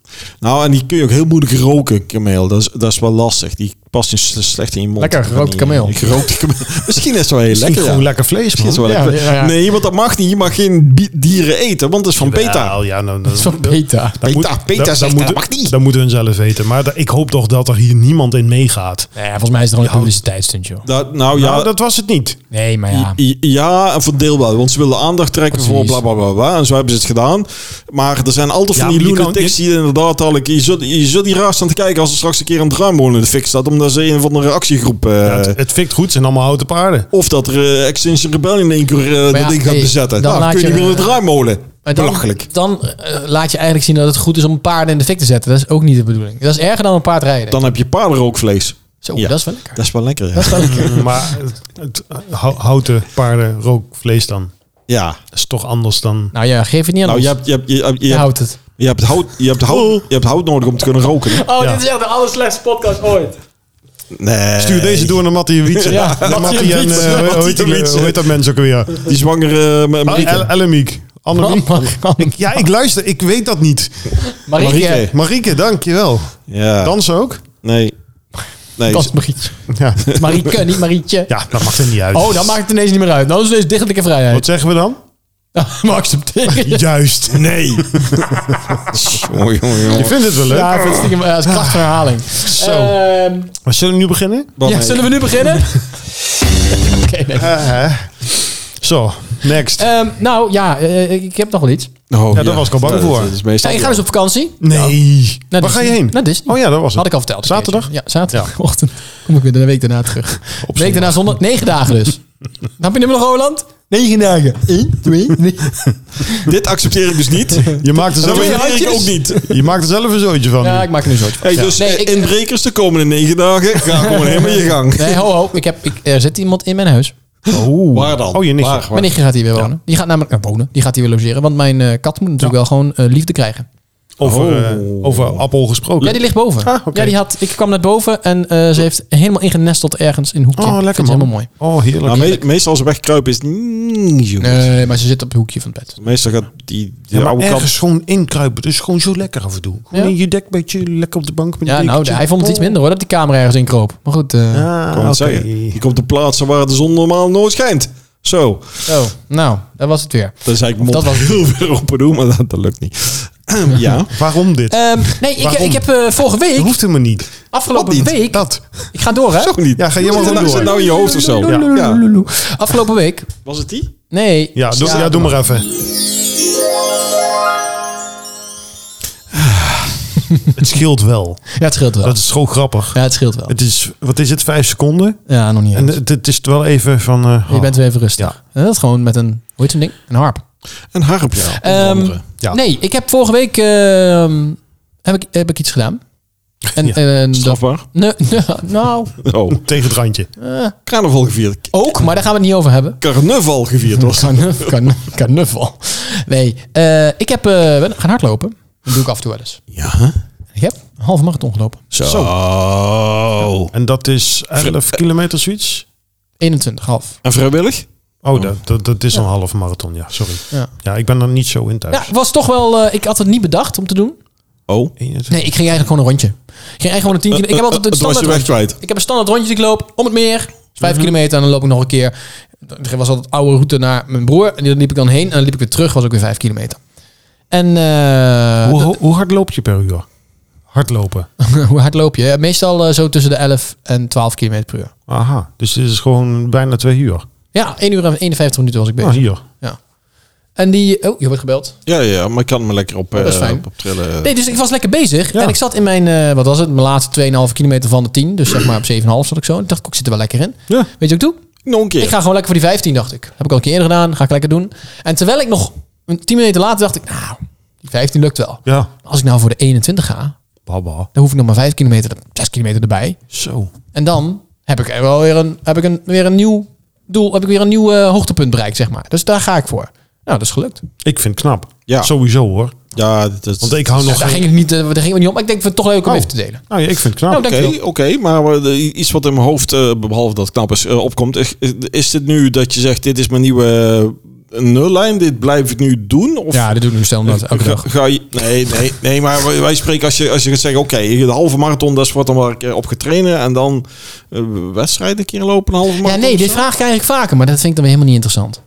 S3: Nou, en die kun je ook heel moeilijk roken, kameel. Dat is, dat is wel lastig. Die past dus slecht in je mond.
S2: Lekker,
S3: Van
S2: gerookt
S3: die-
S2: kameel.
S3: Gerookte eh, kameel. Misschien is het wel heel
S1: Misschien
S3: lekker, ja.
S1: gewoon lekker vlees,
S3: Misschien
S1: man.
S3: is het wel
S2: Ja,
S3: lekker.
S2: ja, ja.
S3: Nee, want dat mag niet. Je mag geen bi- dieren eten, want het is van beta.
S1: Wel, Ja, nou,
S2: Dat is van beta.
S1: dat
S3: Beta, beta zegt dat,
S1: moeten,
S3: mag niet.
S1: Dat moeten hun zelf weten. Maar da- ik hoop toch dat er hier niemand in meegaat.
S2: Nee, volgens mij is het gewoon een publiciteitsstunt, joh.
S3: Dat, nou ja,
S1: Nou, dat was het niet.
S2: Nee, maar ja.
S3: I- Ja, en voor deel wel. Want ze willen aandacht trekken voor
S2: Precies.
S3: bla bla bla bla. En zo hebben ze het gedaan. Maar er zijn altijd
S1: Ja,
S3: van die
S1: maar je kan-
S3: lunatics die inderdaad al. Je zult, je zult die raar staan te kijken als er straks een keer een druimmolen in de fik staat. Omdat ze een van de actiegroep. eh,
S1: Ja, het, het fikt goed, het zijn allemaal houten paarden.
S3: of dat er eh, Extinction Rebellion in één keer eh, dat
S2: ja,
S3: ding gaat
S2: nee,
S3: bezetten.
S2: dan
S3: Nou, dan
S2: laat
S3: kun je niet
S2: je,
S3: meer in de
S2: eh,
S3: draaimolen.
S2: Maar dan,
S3: Belachelijk.
S2: dan eh, laat je eigenlijk zien dat het goed is om paarden in de fik te zetten. Dat is ook niet de bedoeling. Dat is erger dan een paard rijden.
S3: Dan heb je paardenrookvlees.
S2: Zo,
S3: ja.
S2: dat is wel lekker.
S3: Dat is wel lekker. Ja.
S2: Dat is wel lekker.
S1: maar het, het hou- houten paarden rookvlees dan.
S3: ja.
S1: Dat is toch anders dan...
S2: Nou ja, geef het niet aan
S3: Nou,
S2: ons.
S3: je hebt, je, hebt, je, hebt, je,
S2: Je
S3: hebt,
S2: houdt het.
S3: je hebt hout, je hebt hout, je hebt hout nodig om te kunnen roken. hè?
S2: Oh,
S1: Ja.
S2: dit is echt de allerslechtste podcast ooit.
S3: Nee.
S1: Stuur deze door naar Mattie en Wietse.
S2: Ja,
S1: Naar Mattie
S3: Mattie en
S1: en...
S3: Wietse,
S1: eh,
S3: Mattie
S1: hoe heet
S3: en
S1: die-
S3: Wietse.
S1: Hoe heet dat mens ook alweer?
S3: Die zwangere
S2: Oh,
S3: eh, Marieke.
S1: Ah, El- Ellemiek. Annemiek.
S2: Marieke.
S1: Ja, ik luister. Ik weet dat niet.
S2: Marieke.
S3: Marieke.
S1: Marieke, dankjewel.
S3: Ja.
S1: Dansen ook?
S3: Nee. Nee.
S2: Dat is Marieke.
S1: Ja,
S2: Marieke, niet Marietje.
S1: ja dat mag er niet uit.
S2: Oh, dan maakt het ineens niet meer uit. Dan is het ineens dichtelijke
S1: Wat
S2: vrijheid.
S1: zeggen we dan?
S2: Maar accepteer je.
S1: Juist. Nee.
S3: Jongen, jongen, jongen.
S1: Je vindt het wel leuk.
S2: Ja, ik vind het stiekem eh, als kracht van herhaling.
S1: Zo.
S2: Ehm,
S1: Maar zullen we nu beginnen?
S3: Wat
S2: ja,
S3: een-
S2: zullen we nu beginnen? Oké, nee.
S1: Eh, Zo, next.
S2: Ehm, nou ja, eh, ik heb nog wel iets.
S3: Oh,
S1: Ja, daar was ik al bang
S3: Dat-
S1: voor.
S3: dat is meestal-
S2: Ja, je gaat dus op vakantie.
S1: Nee. Waar
S2: Naar Disney.
S1: ga je heen?
S2: Naar Disney.
S1: Oh ja, dat was het.
S2: dus nou, Had ik al verteld.
S1: Zaterdag?
S2: Ja, zaterdagochtend. Kom ik weer de week daarna terug. De week daarna zondag. Negen dagen dus. Snap je nummer Roland? Negen dagen. Eén, twee, drie.
S3: Dit accepteer ik dus niet. Dat
S1: Je maakt er zelf,
S2: Twee
S3: accepteer ik
S2: handjes?
S3: ook niet.
S1: je maakt er zelf een zootje van.
S2: Ja, ik maak er nu een soort van.
S3: Hey, dus
S2: Nee,
S3: eh,
S2: ik-
S3: inbrekers de komende negen dagen. Ga gewoon helemaal in je gang.
S2: Nee, ho, ho. Ik heb, ik, er zit iemand in mijn huis.
S1: Oh.
S3: Waar dan?
S1: Oh, je niks.
S3: Waar, waar?
S2: Mijn nichtje gaat hier weer wonen. Die gaat namelijk naar wonen. Die gaat hier weer logeren. Want mijn eh, kat moet natuurlijk wel gewoon eh, liefde krijgen.
S1: Over, eh, over appel gesproken.
S2: Oh. Ja, die ligt boven.
S1: Ah, oké.
S2: Ja, die had, ik kwam net boven en eh, ze heeft helemaal ingenesteld ergens in een hoekje.
S1: Oh,
S2: Vindt
S1: lekker
S2: ze
S1: man.
S2: helemaal mooi.
S1: Oh, heerlijk.
S3: Nou, me- meestal als ze wegkruipen is het niet zo goed.
S2: Nee, maar ze zit op het hoekje van het bed.
S3: Meestal gaat die, die
S1: ja, maar
S3: oude kat...
S1: ergens gewoon inkruipen. Dus gewoon zo lekker af en toe. Gewoon
S2: Ja.
S1: in je dekbedje, lekker op de bank. Met
S2: Ja,
S1: een
S2: nou,
S1: dekentje.
S2: hij vond het iets minder hoor, dat die camera ergens in kroop. Maar goed, eh,
S1: Ah,
S3: kan het
S1: oké.
S3: zeggen. Die komt op plaatsen waar de zon normaal nooit schijnt. Zo.
S1: Oh,
S2: zo. Nou, dat was het weer.
S3: Dan zei ik mond
S2: Dat was-
S3: heel veel open doen, maar dat, dat lukt niet. Ehm, ja.
S1: Waarom dit?
S2: Ehm, nee, ik,
S1: Waarom?
S2: ik heb eh, vorige
S1: dat
S2: week,
S1: hoeft helemaal niet.
S2: afgelopen
S3: Wat niet?
S2: week...
S1: Dat.
S2: Ik ga door, hè?
S3: Zo niet.
S1: Ja, ga je maar
S3: Zit
S1: gewoon
S3: nou-
S1: door.
S3: Zit nou in je hoofd of zo?
S1: Ja.
S2: Loeloeloeloe. Afgelopen week...
S3: Was het die?
S2: Nee.
S1: Ja, doe, ja, doe maar even. het scheelt wel.
S2: Ah. Ja, het scheelt wel.
S1: Dat is gewoon grappig.
S2: Ja, het scheelt wel.
S1: Het is, wat is het, vijf seconden?
S2: Ja, nog niet
S1: En
S2: eens.
S1: het, het is wel even van... eh,
S2: Je
S1: oh.
S2: bent weer even rustig. En dat is gewoon met een, hoe heet zo'n ding? Een harp.
S3: Een harp, ja.
S1: oh.
S3: onder
S2: Ehm,
S3: andere.
S1: Ja.
S2: Nee, ik heb vorige week ehm, heb ik, heb ik iets gedaan. En,
S1: Ja,
S2: en, eh, dat-
S3: Strafbaar.
S2: Nee, nee, nou,
S3: Oh.
S1: Tegen het randje.
S3: Carnaval gevierd.
S2: ook, maar daar gaan we het niet over hebben.
S3: Carnaval gevierd was.
S2: Karnuff- karnuff- Karnuffel. Nee, eh, ik heb, eh, ben gaan hardlopen. Dat doe ik af en toe wel eens.
S3: Ja.
S2: Ik heb een halve marathon gelopen.
S3: Zo.
S2: Oh.
S1: En dat is 11 kilometer zoiets?
S2: 21, half.
S3: En vrijwillig?
S1: Oh, Dat, dat, dat is een halve marathon, ja. Sorry.
S2: Ja.
S1: Ja. ik ben er niet zo in thuis.
S2: Ja, het was toch wel, eh, ik had het niet bedacht om te doen.
S3: Oh.
S2: Nee, ik ging eigenlijk gewoon een rondje. Ik ging eigenlijk gewoon een 10 kilometer. Ik heb altijd een
S3: Eh, Het was je
S2: standaard
S3: weg kwijt. Mhm.
S2: Ik heb een standaard rondje die ik loop om het meer. Dus vijf kilometer en dan loop ik nog een keer. Er was altijd oude route naar mijn broer. En die liep ik dan heen. En dan liep ik weer terug. Was ook weer vijf kilometer. En eh,
S1: Hoe, hoe hard loop je per uur? Hardlopen.
S2: dat- hoe hard loop je? Ja, Meestal eh, zo tussen de 11 en 12 kilometer per uur.
S1: Aha. Dus dit is gewoon bijna twee uur.
S2: Ja, 1 uur en 51 minuten was ik
S1: Ah,
S2: bezig.
S1: hier.
S2: Ja. En die... Oh, je wordt gebeld.
S3: Ja, ja, maar ik kan me lekker op,
S2: dat is
S3: eh,
S2: fijn.
S3: op, op trillen.
S2: Nee, dus ik was lekker bezig. En ik zat in mijn, eh, wat was het, mijn laatste 2,5 kilometer van de 10. Dus zeg maar op 7,5 zat ik zo. En ik dacht, ik zit er wel lekker in.
S1: Ja.
S2: Weet je wat ik doe?
S3: Nog een keer.
S2: Ik ga gewoon lekker voor die 15, dacht ik. Heb ik al een keer eerder gedaan, ga ik lekker doen. En terwijl ik nog een 10 minuten later dacht ik, nou, die 15 lukt wel.
S1: Ja.
S2: Als ik nou voor de 21 ga,
S1: Baba.
S2: dan hoef ik nog maar 5 kilometer, 6 kilometer erbij.
S1: Zo.
S2: En dan heb ik er wel weer een, heb ik een, weer een nieuw doel, heb ik weer een nieuw eh, hoogtepunt bereikt, zeg maar. Dus daar ga ik voor. Nou, dat is gelukt.
S1: Ik vind het knap.
S3: Ja.
S1: Sowieso hoor.
S3: Ja, dat is...
S1: Want ik hou
S2: Ja,
S1: nog...
S2: daar,
S1: geen-
S2: ging het niet, eh, daar ging het niet om, maar ik denk, ik vind het toch leuk om
S1: Oh.
S2: even te delen.
S1: Nou ja, ik vind het knap.
S2: Nou,
S3: Oké,
S2: dankjewel.
S3: oké, maar eh, iets wat in mijn hoofd, eh, behalve dat het knap is, eh, opkomt. Is, is dit nu dat je zegt, dit is mijn nieuwe eh, een nullijn? Dit blijf ik nu doen? Of
S2: Ja, dit doe ik nu stel omdat elke
S3: ga,
S2: dag.
S3: ga je, nee, nee, nee, maar wij- wij spreken als je, als je gaat zeggen... Oké, de halve marathon, dat is wat dan maar een keer op getrainen. En dan eh, wedstrijd een keer lopen, een halve
S2: Ja,
S3: marathon.
S2: nee,
S3: of
S2: dit
S3: zo?
S2: vraag ik eigenlijk vaker, maar dat vind ik dan weer helemaal niet interessant.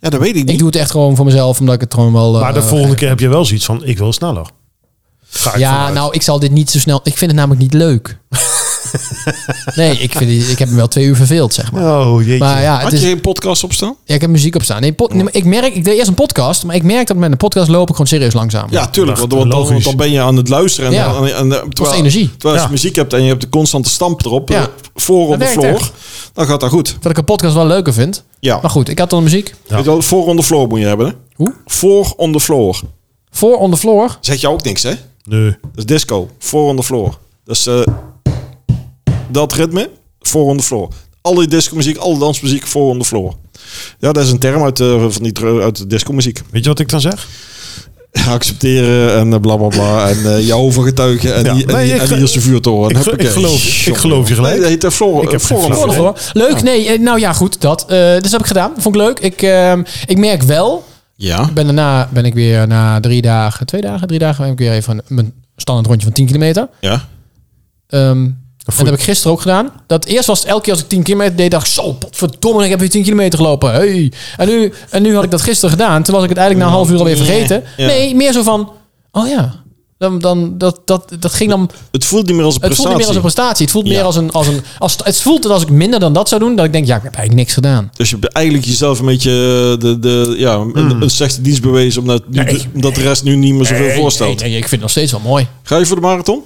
S3: Ja, dat weet ik niet.
S2: Ik doe het echt gewoon voor mezelf, omdat ik het gewoon wel... eh,
S1: Maar de volgende keer heb je wel zoiets van, ik wil sneller. Ga ik
S2: Ja,
S1: vanuit.
S2: nou, ik zal dit niet zo snel... Ik vind het namelijk niet leuk. nee, ik, vind, die- ik heb me wel twee uur verveeld, zeg maar.
S1: Oh, jeetje.
S2: Maar ja, het
S3: Had
S2: is,
S3: je geen podcast op staan?
S2: ja, ik heb muziek op staan. Nee, pod- nee, maar ik, merk, ik deed eerst een podcast, maar ik merk dat met een podcast loop ik gewoon serieus langzaam.
S3: Ja, tuurlijk.
S1: Dacht,
S3: Want, want dan,
S1: logisch.
S3: want dan ben je aan het luisteren. En,
S2: Ja.
S3: dan- en, en- terwijl,
S2: energie.
S3: Terwijl je
S1: Ja.
S3: muziek hebt en je hebt de constante stamp erop.
S2: Ja.
S3: eh, Voor
S2: Dat
S3: on the
S2: werkt
S3: floor.
S2: echt.
S3: Dan gaat dat goed.
S2: Dat ik een podcast wel leuker vind.
S3: Ja.
S2: Maar goed, ik had dan muziek.
S1: Ja.
S3: Weet je wel, Voor on the floor moet je hebben. Hè?
S2: Hoe?
S3: Voor on the floor.
S2: Voor On The Floor.
S3: Zet je ook niks, hè?
S1: Nee.
S3: Dat is disco. Voor on the floor. Dus eh, dat ritme. Voor on the floor. Al die discomuziek, alle dansmuziek voor on the floor. Ja, dat is een term uit, eh, van die, tru- uit de discomuziek.
S1: Weet je wat ik dan zeg?
S3: Accepteren en eh, bla bla bla. En eh jou overgetuigen. En,
S1: Ja.
S3: die, en,
S1: Nee,
S3: die,
S1: ik
S3: en
S1: ge-
S3: die is de vuurtoren.
S1: Ik,
S3: Huppakee.
S1: ik, geloof, ik geloof je
S3: Nee, dat
S1: gelijk.
S3: heet de Flor.
S1: Ik heb
S3: Flor-
S1: geen flauw
S3: Flor-
S1: idee.
S2: Voor On The Floor. Leuk, nee. eh, Nou ja, goed, dat. Eh, dus dat heb ik gedaan. Vond ik leuk. Ik, ehm, ik merk wel...
S3: Ja.
S2: Ik ben daarna ben ik weer na drie dagen, twee dagen, drie dagen... ben ik weer even een- mijn standaard rondje van 10 kilometer.
S3: Ja.
S2: Ehm, en dat heb ik gisteren ook gedaan. Dat eerst was het elke keer als ik 10 kilometer deed, dacht ik zo, potverdomme, ik heb weer 10 kilometer gelopen. Hey. En, nu, en nu had ik dat gisteren gedaan. Toen was ik het eigenlijk na een half uur alweer vergeten.
S3: Ja.
S2: Nee, meer zo van, oh ja, dan, dan, dat, dat, dat ging dan...
S3: Het voelt niet meer als een
S2: Het voelt
S3: prestatie.
S2: niet meer als een prestatie. Het voelt
S3: Ja.
S2: meer als een... Als een als, het voelt dat als ik minder dan dat zou doen, dat ik denk, ja, ik heb eigenlijk niks gedaan.
S3: Dus je hebt eigenlijk jezelf een beetje eh, de, de, ja, een, een slechte dienst bewezen. Omdat, nu de, omdat de rest nu niet meer zoveel voorstelt.
S2: Nee, nee, ik vind het nog steeds wel mooi.
S3: Ga je voor de marathon?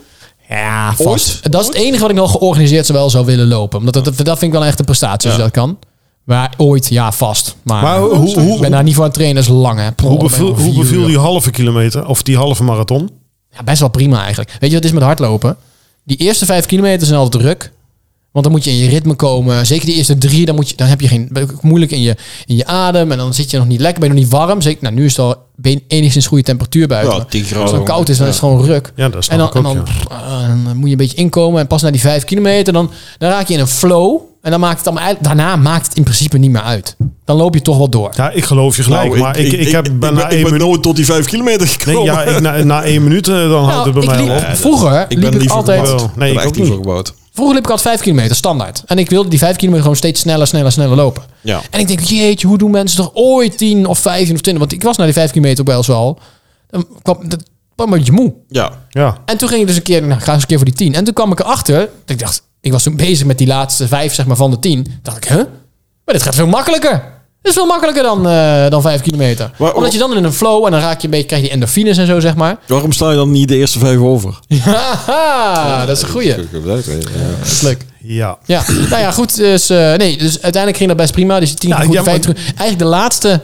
S2: Ja, vast.
S3: Ooit?
S2: Dat is het enige wat ik nog georganiseerd wel zou willen lopen. Omdat dat, dat vind ik wel echt een prestatie als
S3: Ja.
S2: je dat kan. Maar ooit, ja, vast. Maar,
S1: Maar hoe- hoe-
S2: ik ben daar niet voor aan het trainen, dat is lang. Hè. Pro-
S1: Hoe
S2: ben ik
S1: beviel,
S2: nog
S1: hoe
S2: vier
S1: beviel
S2: uur.
S1: die halve kilometer, of die halve marathon?
S2: Ja, best wel prima eigenlijk. Weet je wat het is met hardlopen? Die eerste vijf kilometer zijn altijd druk. Want dan moet je in je ritme komen. Zeker die eerste drie, dan, moet je, dan heb je geen, ben je ook moeilijk in je, in je adem. En dan zit je nog niet lekker, ben je nog niet warm. Zeker, nou, nu is het al ben- enigszins goede temperatuur buiten.
S3: Ja, 10 graden.
S2: Als het dan koud is, dan
S3: Ja.
S2: is het gewoon ruk.
S1: Ja, dat snap
S2: en dan,
S1: ik ook,
S2: en dan,
S1: ja.
S2: pff, eh, dan moet je een beetje inkomen. En pas na die vijf kilometer, dan, dan raak je in een flow. En dan maakt het allemaal uit. Daarna maakt het in principe niet meer uit. Dan loop je toch wel door.
S1: Ja, ik geloof je gelijk.
S3: Nou,
S1: maar ik, ik, heb
S3: ik, ben,
S1: bijna
S3: ik
S1: één
S3: ben
S1: minuut...
S3: nooit tot die vijf kilometer gekomen.
S1: Nee, ja, ik, na, na één minuut eh, dan houdt
S2: Nou,
S1: het bij
S2: ik
S1: mij
S2: liep-
S1: al op.
S2: vroeger
S3: ik
S2: liep
S3: ben
S2: ik
S3: liever
S2: altijd...
S1: gebouwd. Nee,
S3: Ik ben
S1: ik
S3: echt
S1: ook
S3: niet
S1: niet.
S3: voor gebouwd.
S2: Vroeger liep ik altijd 5 kilometer standaard. En ik wilde die 5 kilometer gewoon steeds sneller, sneller, sneller lopen.
S3: Ja.
S2: En ik denk, jeetje, hoe doen mensen toch ooit 10 of 15 of 20? Want ik was na die 5 kilometer ook wel eens wel. Dan kwam, dat kwam een beetje moe.
S3: Ja.
S1: Ja,
S2: En toen ging ik dus een keer, nou, ga eens een keer voor die 10. En toen kwam ik erachter, dat ik dacht, ik was toen bezig met die laatste 5 zeg maar, van de 10. Dacht ik, huh? Maar dit gaat veel makkelijker. Dit is veel makkelijker dan, eh dan 5 kilometer.
S3: Maar-
S2: Omdat je dan in een flow en dan raak je een beetje, krijg je die endorfines en zo, zeg maar.
S3: Waarom sla je dan niet de eerste vijf over?
S2: Haha, dat is een goeie. Dat is leuk.
S1: ja.
S2: Ja, nou ja, goed. Dus, eh, nee, dus uiteindelijk ging dat best prima. Dus die 10
S1: Ja,
S2: keer goed,
S1: ja,
S2: vijf
S1: maar-
S2: terug. Eigenlijk de laatste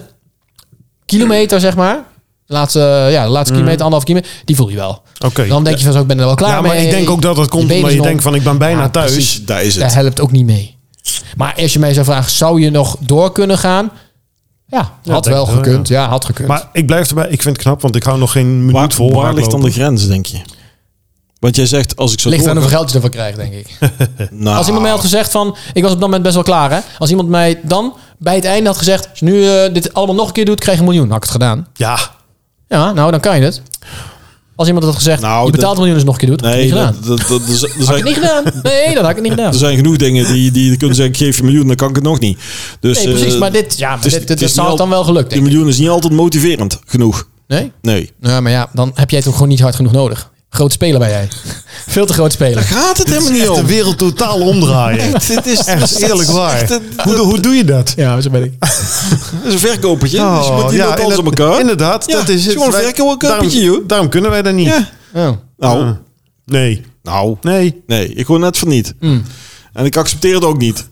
S2: kilometer, zeg maar. De laatste, ja, de laatste kilometer, anderhalf kilometer. Die voel je wel.
S1: Mhm. Oké.
S2: Dan denk je van, zo, ik ben er wel klaar
S1: Ja, maar
S2: mee.
S1: ik denk ook dat dat komt
S2: benen
S1: omdat je
S2: zijn
S1: denkt
S2: om.
S1: van ik ben bijna
S2: Ja,
S1: thuis.
S3: Precies, Dus daar is
S2: Dat
S3: het.
S2: helpt ook niet mee. Maar als je mij zou vragen, zou je nog door kunnen gaan? Ja, had
S1: denk
S2: wel
S1: ik wel,
S2: gekund. Ja. had gekund.
S1: Maar ik blijf erbij. Ik vind het knap, want ik hou nog geen minuut
S3: Waar,
S1: vol.
S3: waar ligt dan de
S1: hardlopen.
S3: grens, denk je? Want jij zegt, als ik zo
S2: Ligt aan hoeveel
S3: doorga-
S2: geld je ervan krijgt, denk ik.
S3: Nou,
S2: Als iemand mij had gezegd van, ik was op dat moment best wel klaar hè. Als iemand mij dan bij het einde had gezegd, als je nu eh, dit allemaal nog een keer doet, krijg je een miljoen. Dan had ik het gedaan.
S1: Ja,
S2: Ja, nou dan kan je het. Als iemand had gezegd,
S3: Nou,
S2: je
S3: dat-
S2: betaalt een miljoen als je nog een keer doet,
S3: Nee,
S2: had ik het
S3: dat, Dus,
S2: niet gedaan.
S3: dat, dat, dat, dat,
S2: Had ik het niet gedaan. Nee, dan had ik het niet gedaan.
S3: Er zijn genoeg dingen die, die kunnen zeggen, ik geef je een miljoen, dan kan ik het nog niet. Dus,
S2: Nee, precies.
S3: eh,
S2: Maar dit, ja, maar
S3: het is-
S2: dit, dit,
S3: het is
S2: dit zou
S3: niet
S2: het dan wel gelukt,
S3: De
S2: denk ik.
S3: miljoen is niet altijd motiverend genoeg.
S2: Nee?
S3: Nee.
S2: Nou, maar ja, dan heb jij het ook gewoon niet hard genoeg nodig. Groot speler ben jij. Veel te groot speler.
S3: Gaat het helemaal niet
S1: de
S3: om.
S1: wereld totaal omdraaien.
S3: Dit is
S1: Echt eerlijk waar.
S3: Dat
S1: Hoe, hoe doe je dat?
S2: Ja, zo ben ik.
S3: is een verkopertje. dus je moet die loopt alles op
S1: inderdaad-
S3: elkaar.
S1: Inderdaad,
S3: Ja,
S1: dat is het.
S3: gewoon een
S1: Wij-
S3: verkopertje,
S1: daarom,
S3: joh.
S1: daarom kunnen wij dat niet.
S3: Ja.
S2: Oh.
S3: Nou,
S1: Ah. Nee,
S3: nou,
S1: nee.
S3: nee, ik hoor net van niet.
S2: Hmm.
S3: En ik accepteer het ook niet.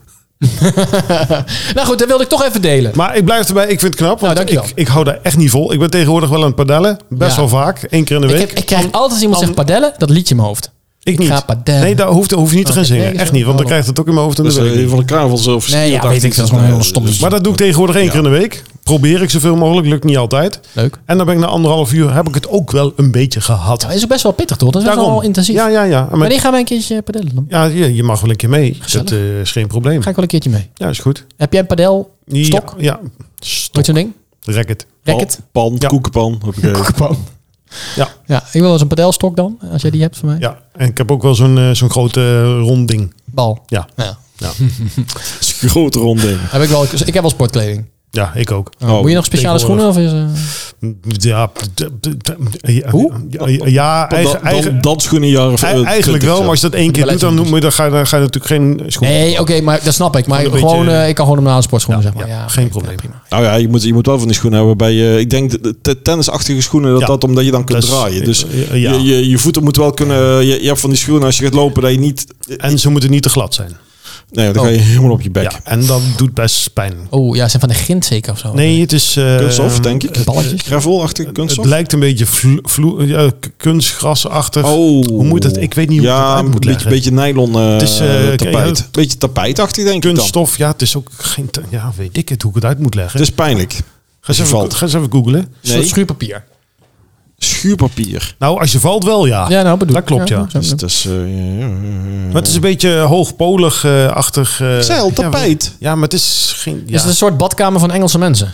S2: Nou goed, dat wilde ik toch even delen.
S1: Maar ik blijf erbij. Ik vind het knap, want
S2: dankjewel.
S1: ik, ik hou daar echt niet vol. Ik ben tegenwoordig wel aan het padellen. Best
S2: Ja.
S1: wel vaak. Eén keer in de
S2: Ik,
S1: week.
S2: heb, ik krijg altijd als iemand zegt padellen, dat liedje in mijn hoofd.
S1: Ik niet.
S2: ga padellen.
S1: Nee, daar hoeft, hoef je niet te gaan zingen.
S2: nee,
S1: Echt niet, want dan
S2: hallo.
S1: krijgt het ook in mijn hoofd en
S3: Dus
S1: dat wil ik
S3: eh,
S1: niet.
S3: van de kavels of
S2: Nee, ja, weet ik. Dat is gewoon
S3: eh,
S2: heel stom.
S3: dus
S1: Maar dat doe ik tegenwoordig één keer in de week. Probeer ik zoveel mogelijk. Lukt niet altijd.
S2: Leuk.
S1: En dan ben ik na anderhalf uur, heb ik het ook wel een beetje gehad.
S2: Dat is ook best wel pittig, toch? Dat is best wel intensief.
S1: Ja, ja, ja. En met-
S2: Wanneer gaan wij een keertje padellen dan?
S1: ja je, je mag wel een keer mee.
S2: Gezellig.
S1: Dat eh, is geen probleem.
S2: Ga ik wel een keertje mee.
S1: Ja, is goed.
S2: Heb jij een padel?
S1: Ja,
S2: Stok?
S1: Ja.
S2: Wat zo'n ding?
S1: Racket.
S2: Racket.
S3: Pan, pan,
S1: Ja.
S3: koekenpan. eh, Hoppakee.
S1: Ja.
S2: Ja, ik wil wel eens een padelstok dan, als jij die hebt voor mij.
S1: ja, en ik heb ook wel zo'n eh, zo'n grote eh, rond ding.
S2: Bal.
S1: Ja.
S2: Ja.
S3: Dat is een grote rond ding.
S2: Heb ik, wel, ik heb wel sportkleding.
S1: Ja, ik ook.
S3: Oh,
S2: Moet je nog speciale schoenen? Of is, eh,
S1: Ja, p- t- t- t- ja,
S2: Hoe?
S1: ja, ja, Ja,
S3: Dan,
S1: eigen, eigen,
S3: dan dansschoenen een jaar of eh,
S1: ei- eigenlijk
S3: 20
S1: wel,
S3: zo.
S1: maar als je dat één keer doet, dan, moet je, dan, ga, je, dan ga je natuurlijk geen schoen.
S2: Nee, oké, maar dat snap ik. Maar
S1: Een beetje-
S2: gewoon, eh, ik kan gewoon hem naar een sportschoenen,
S1: Ja,
S2: zeg maar.
S1: ja,
S2: Ja,
S1: geen
S2: oké,
S1: probleem.
S2: prima.
S3: Nou ja, je moet, je moet wel van die schoenen hebben. Bij, eh, ik denk de, de tennisachtige schoenen, dat,
S1: Ja.
S3: dat omdat je dan kunt
S1: Dat is-
S3: draaien. Dus
S1: eh, ja.
S3: je, je, je voeten moeten wel kunnen... Je, je hebt van die schoenen, als je gaat lopen, dat je niet...
S1: En ze moeten niet te glad zijn.
S3: Nee, dan ga je helemaal op je bek.
S1: Oh. Ja, en dat doet best pijn.
S2: Oh, ja, ze zijn van de grind zeker of zo.
S1: Nee, het is... eh,
S3: Kunststof, denk ik.
S2: balletjes?
S3: Gravelachtige
S1: Het
S3: kunststof.
S1: lijkt een beetje vlo- vlo- ja, k- kunstgrasachtig.
S3: Oh.
S1: Hoe moet dat? Ik weet niet hoe ik dat
S3: ja,
S1: uit moet
S3: een
S1: leggen.
S3: beetje, beetje nylon eh,
S1: Het is, eh, kijk,
S3: tapijt.
S1: ja.
S3: beetje tapijtachtig, denk ik dan.
S1: kunststof, ja, het is ook geen... te- Ja, weet ik het hoe ik het uit moet leggen.
S3: Het is pijnlijk.
S1: ga, eens
S3: je
S1: even,
S3: valt.
S1: ga eens even googlen.
S2: Een soort
S3: Nee.
S2: schuurpapier.
S3: Schuurpapier.
S1: Nou, als je valt wel, ja.
S2: Ja, nou bedoel
S1: Dat
S2: ik.
S1: klopt, ja.
S2: zo-
S3: Dus het is... eh, ja, ja, ja.
S1: Maar het is een beetje hoogpolig-achtig...
S3: Zeil, tapijt.
S1: eh, Ja, maar het is geen... Ja.
S2: Is Dus het een soort badkamer van Engelse mensen?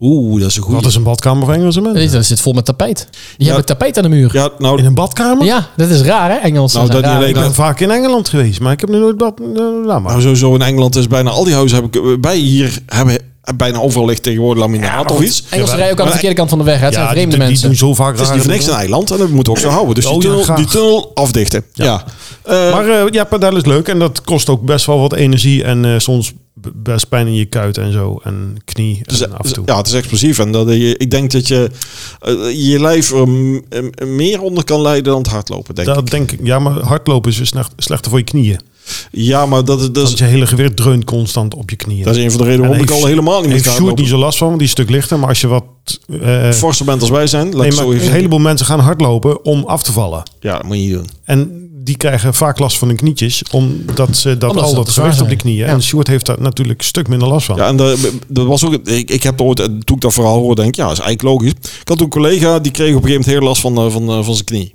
S3: Oeh, dat is een
S1: Wat
S3: goede.
S1: is een badkamer voor Engelse mensen?
S2: Weet je, Dat zit vol met tapijt. Die hebben tapijt aan de muur. Ja,
S3: Ja, nou,
S1: In een badkamer?
S2: dat is raar, hè? Engels.
S3: Nou, dat niet alleen.
S1: Ik ben vaak in Engeland geweest, maar ik heb nu nooit bad... eh, laat maar.
S3: Nou, sowieso in Engeland is bijna al die huizen heb ik bij hier hebben eh, bijna overal ligt tegenwoordig laminaat of iets. Het
S2: Engelsen rijden ook aan de
S3: Maar-
S2: verkeerde kant van de weg. hè? Het zijn
S1: ja, die,
S2: vreemde
S1: die
S2: mensen.
S1: doen zo vaak
S3: is
S1: rare
S3: niet voor niks een
S1: dingen.
S3: eiland en dat moet ook zo houden. Dus
S1: Oh,
S3: die,
S1: ja,
S3: tunnel,
S1: graag.
S3: die tunnel afdichten. Ja. Eh,
S1: Maar eh, ja, padel is leuk en dat kost ook best wel wat energie en eh, soms b- best pijn in je kuit en zo en knie en
S3: dus, eh,
S1: af en toe.
S3: ja, het is explosief. En dat eh, je, ik denk dat je eh, je lijf er m- eh, meer onder kan lijden dan het hardlopen. Denk ik.
S1: dat denk ik. Ja, maar hardlopen is weer slecht- slechter voor je knieën.
S3: Ja, maar dat, is- dat,
S1: Want
S3: is,
S1: je hele gewicht dreunt constant op je knieën.
S3: dat is een van de redenen waarom ik al helemaal niet meer
S1: Ik
S3: ga
S1: shoot niet
S3: hardlopen.
S1: zo last van, want die is een stuk lichter. Maar als je wat... eh,
S3: Forser bent als wij zijn. Laat ik
S1: nee, maar
S3: zo
S1: een
S3: even-
S1: heleboel mensen gaan hardlopen om af te vallen.
S3: Ja, dat moet je niet doen.
S1: En die krijgen vaak last van hun knietjes, omdat ze dat
S2: Omdat ze
S1: al
S2: dat
S1: dat
S2: te zwaar
S1: gewicht op die
S2: zijn.
S1: knieën.
S2: Ja.
S1: En Sjoerd heeft daar natuurlijk een stuk minder last van.
S3: Ja, en de- dat was ook. Ik, ik heb ooit, en toen ik dat verhaal hoorde, denk ik, ja, dat is eigenlijk logisch. Ik had toen een collega die kreeg op een gegeven moment heel last van, eh, van, eh, van zijn knie.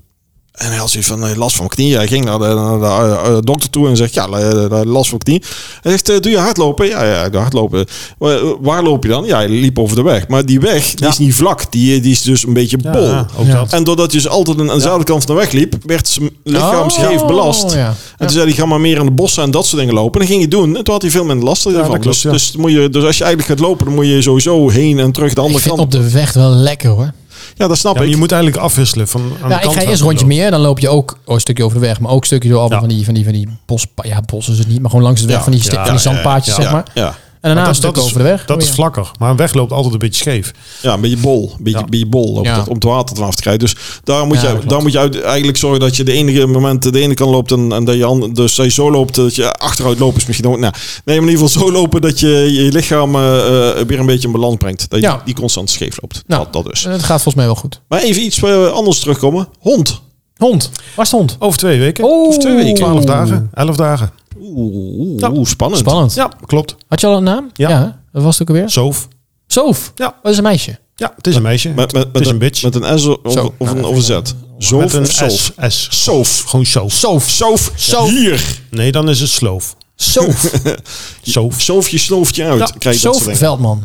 S3: En hij had zoiets van eh, last van mijn knie. Hij ging naar de, naar de, eh, eh, dokter toe en zegt, ja, eh, eh, last van mijn knie. Hij zegt, eh, doe je hardlopen? Ja, ja, ik doe hardlopen. Waar, waar loop je dan? Ja, je liep over de weg. Maar die weg, die is niet vlak. Die, die is dus een beetje bol.
S1: Ja, ook dat.
S3: En doordat je dus altijd aan de zijkant van de weg liep, werd zijn lichaam scheef
S2: Oh,
S3: belast.
S2: ja.
S3: En toen zei hij, ga maar meer in de bossen en dat soort dingen lopen. En dat ging hij doen. En toen had hij veel minder last ervan.
S1: dat klopt,
S3: dus,
S1: ja.
S3: dus, moet je, dus als je eigenlijk gaat lopen, dan moet je sowieso heen en terug de
S2: Ik
S3: andere
S2: vind
S3: kant.
S2: op de weg wel lekker, hoor.
S3: Ja, dat snap
S1: Ja, maar
S3: ik.
S1: je moet eigenlijk afwisselen. Van, aan de
S2: Ja, ik
S1: kant
S2: ga
S1: gaan
S2: eerst rondje
S1: lopen.
S2: meer, dan loop je ook oh, een stukje over de weg, maar ook een stukje door allemaal
S1: Ja.
S2: van die, van die, van die bos, ja, bos is het niet, maar gewoon langs de weg
S3: Ja,
S2: van die, sti-
S1: ja,
S2: van die
S1: ja,
S2: zandpaadjes,
S1: ja,
S2: zeg maar.
S3: Ja.
S2: En daarna een
S1: Dat,
S2: stuk
S1: dat is,
S2: over de weg.
S1: dat
S2: Oh,
S1: is
S2: ja.
S1: vlakker. Maar een weg loopt altijd een beetje scheef.
S3: ja, een beetje bol. Een beetje,
S1: Ja.
S3: beetje bol loopt
S2: Ja.
S3: dat, om het water ervan af te krijgen. Dus daar moet
S2: Ja, dat
S3: je,
S2: klopt.
S3: daar moet je uit, eigenlijk zorgen dat je de enige moment de ene kant loopt en, en dat je ander- dus dat je zo loopt dat je achteruit loopt is misschien ook. Nou, nee, maar in ieder geval zo lopen dat je je lichaam eh, eh, weer een beetje in balans brengt. Dat je
S2: Ja.
S3: die constant scheef loopt.
S2: Nou,
S3: dat, dat dus.
S2: Het gaat volgens mij wel goed.
S3: Maar even iets eh, anders terugkomen. Hond.
S2: Hond. Waar is de hond?
S1: Over twee weken.
S2: Oh.
S1: Of twee weken. Twaalf dagen. Elf dagen.
S3: Oeh,
S1: Ja.
S3: spannend.
S2: Spannend.
S1: Ja, klopt.
S2: Had je al een naam?
S1: Ja.
S2: hè? Dat was het ook alweer?
S1: Zoof.
S2: Zoof.
S1: Ja.
S2: Oh, dat is een meisje.
S1: Ja, het is een meisje.
S3: Met, met, met
S1: het is een bitch.
S3: Met een S of, of
S2: Zo.
S3: een, of een Z.
S1: Met
S3: Zoof
S1: een
S3: of
S1: S.
S3: Zoof?
S1: S.
S3: Zoof.
S1: Gewoon zoof.
S3: Zoof. Zoof. Hier.
S1: Nee, dan is het sloof.
S2: Zoof.
S1: Zoof.
S3: Zoof je snooft je uit.
S1: Ja,
S3: Krijg je
S2: Zoof
S3: dat soort dingen.
S2: Veldman.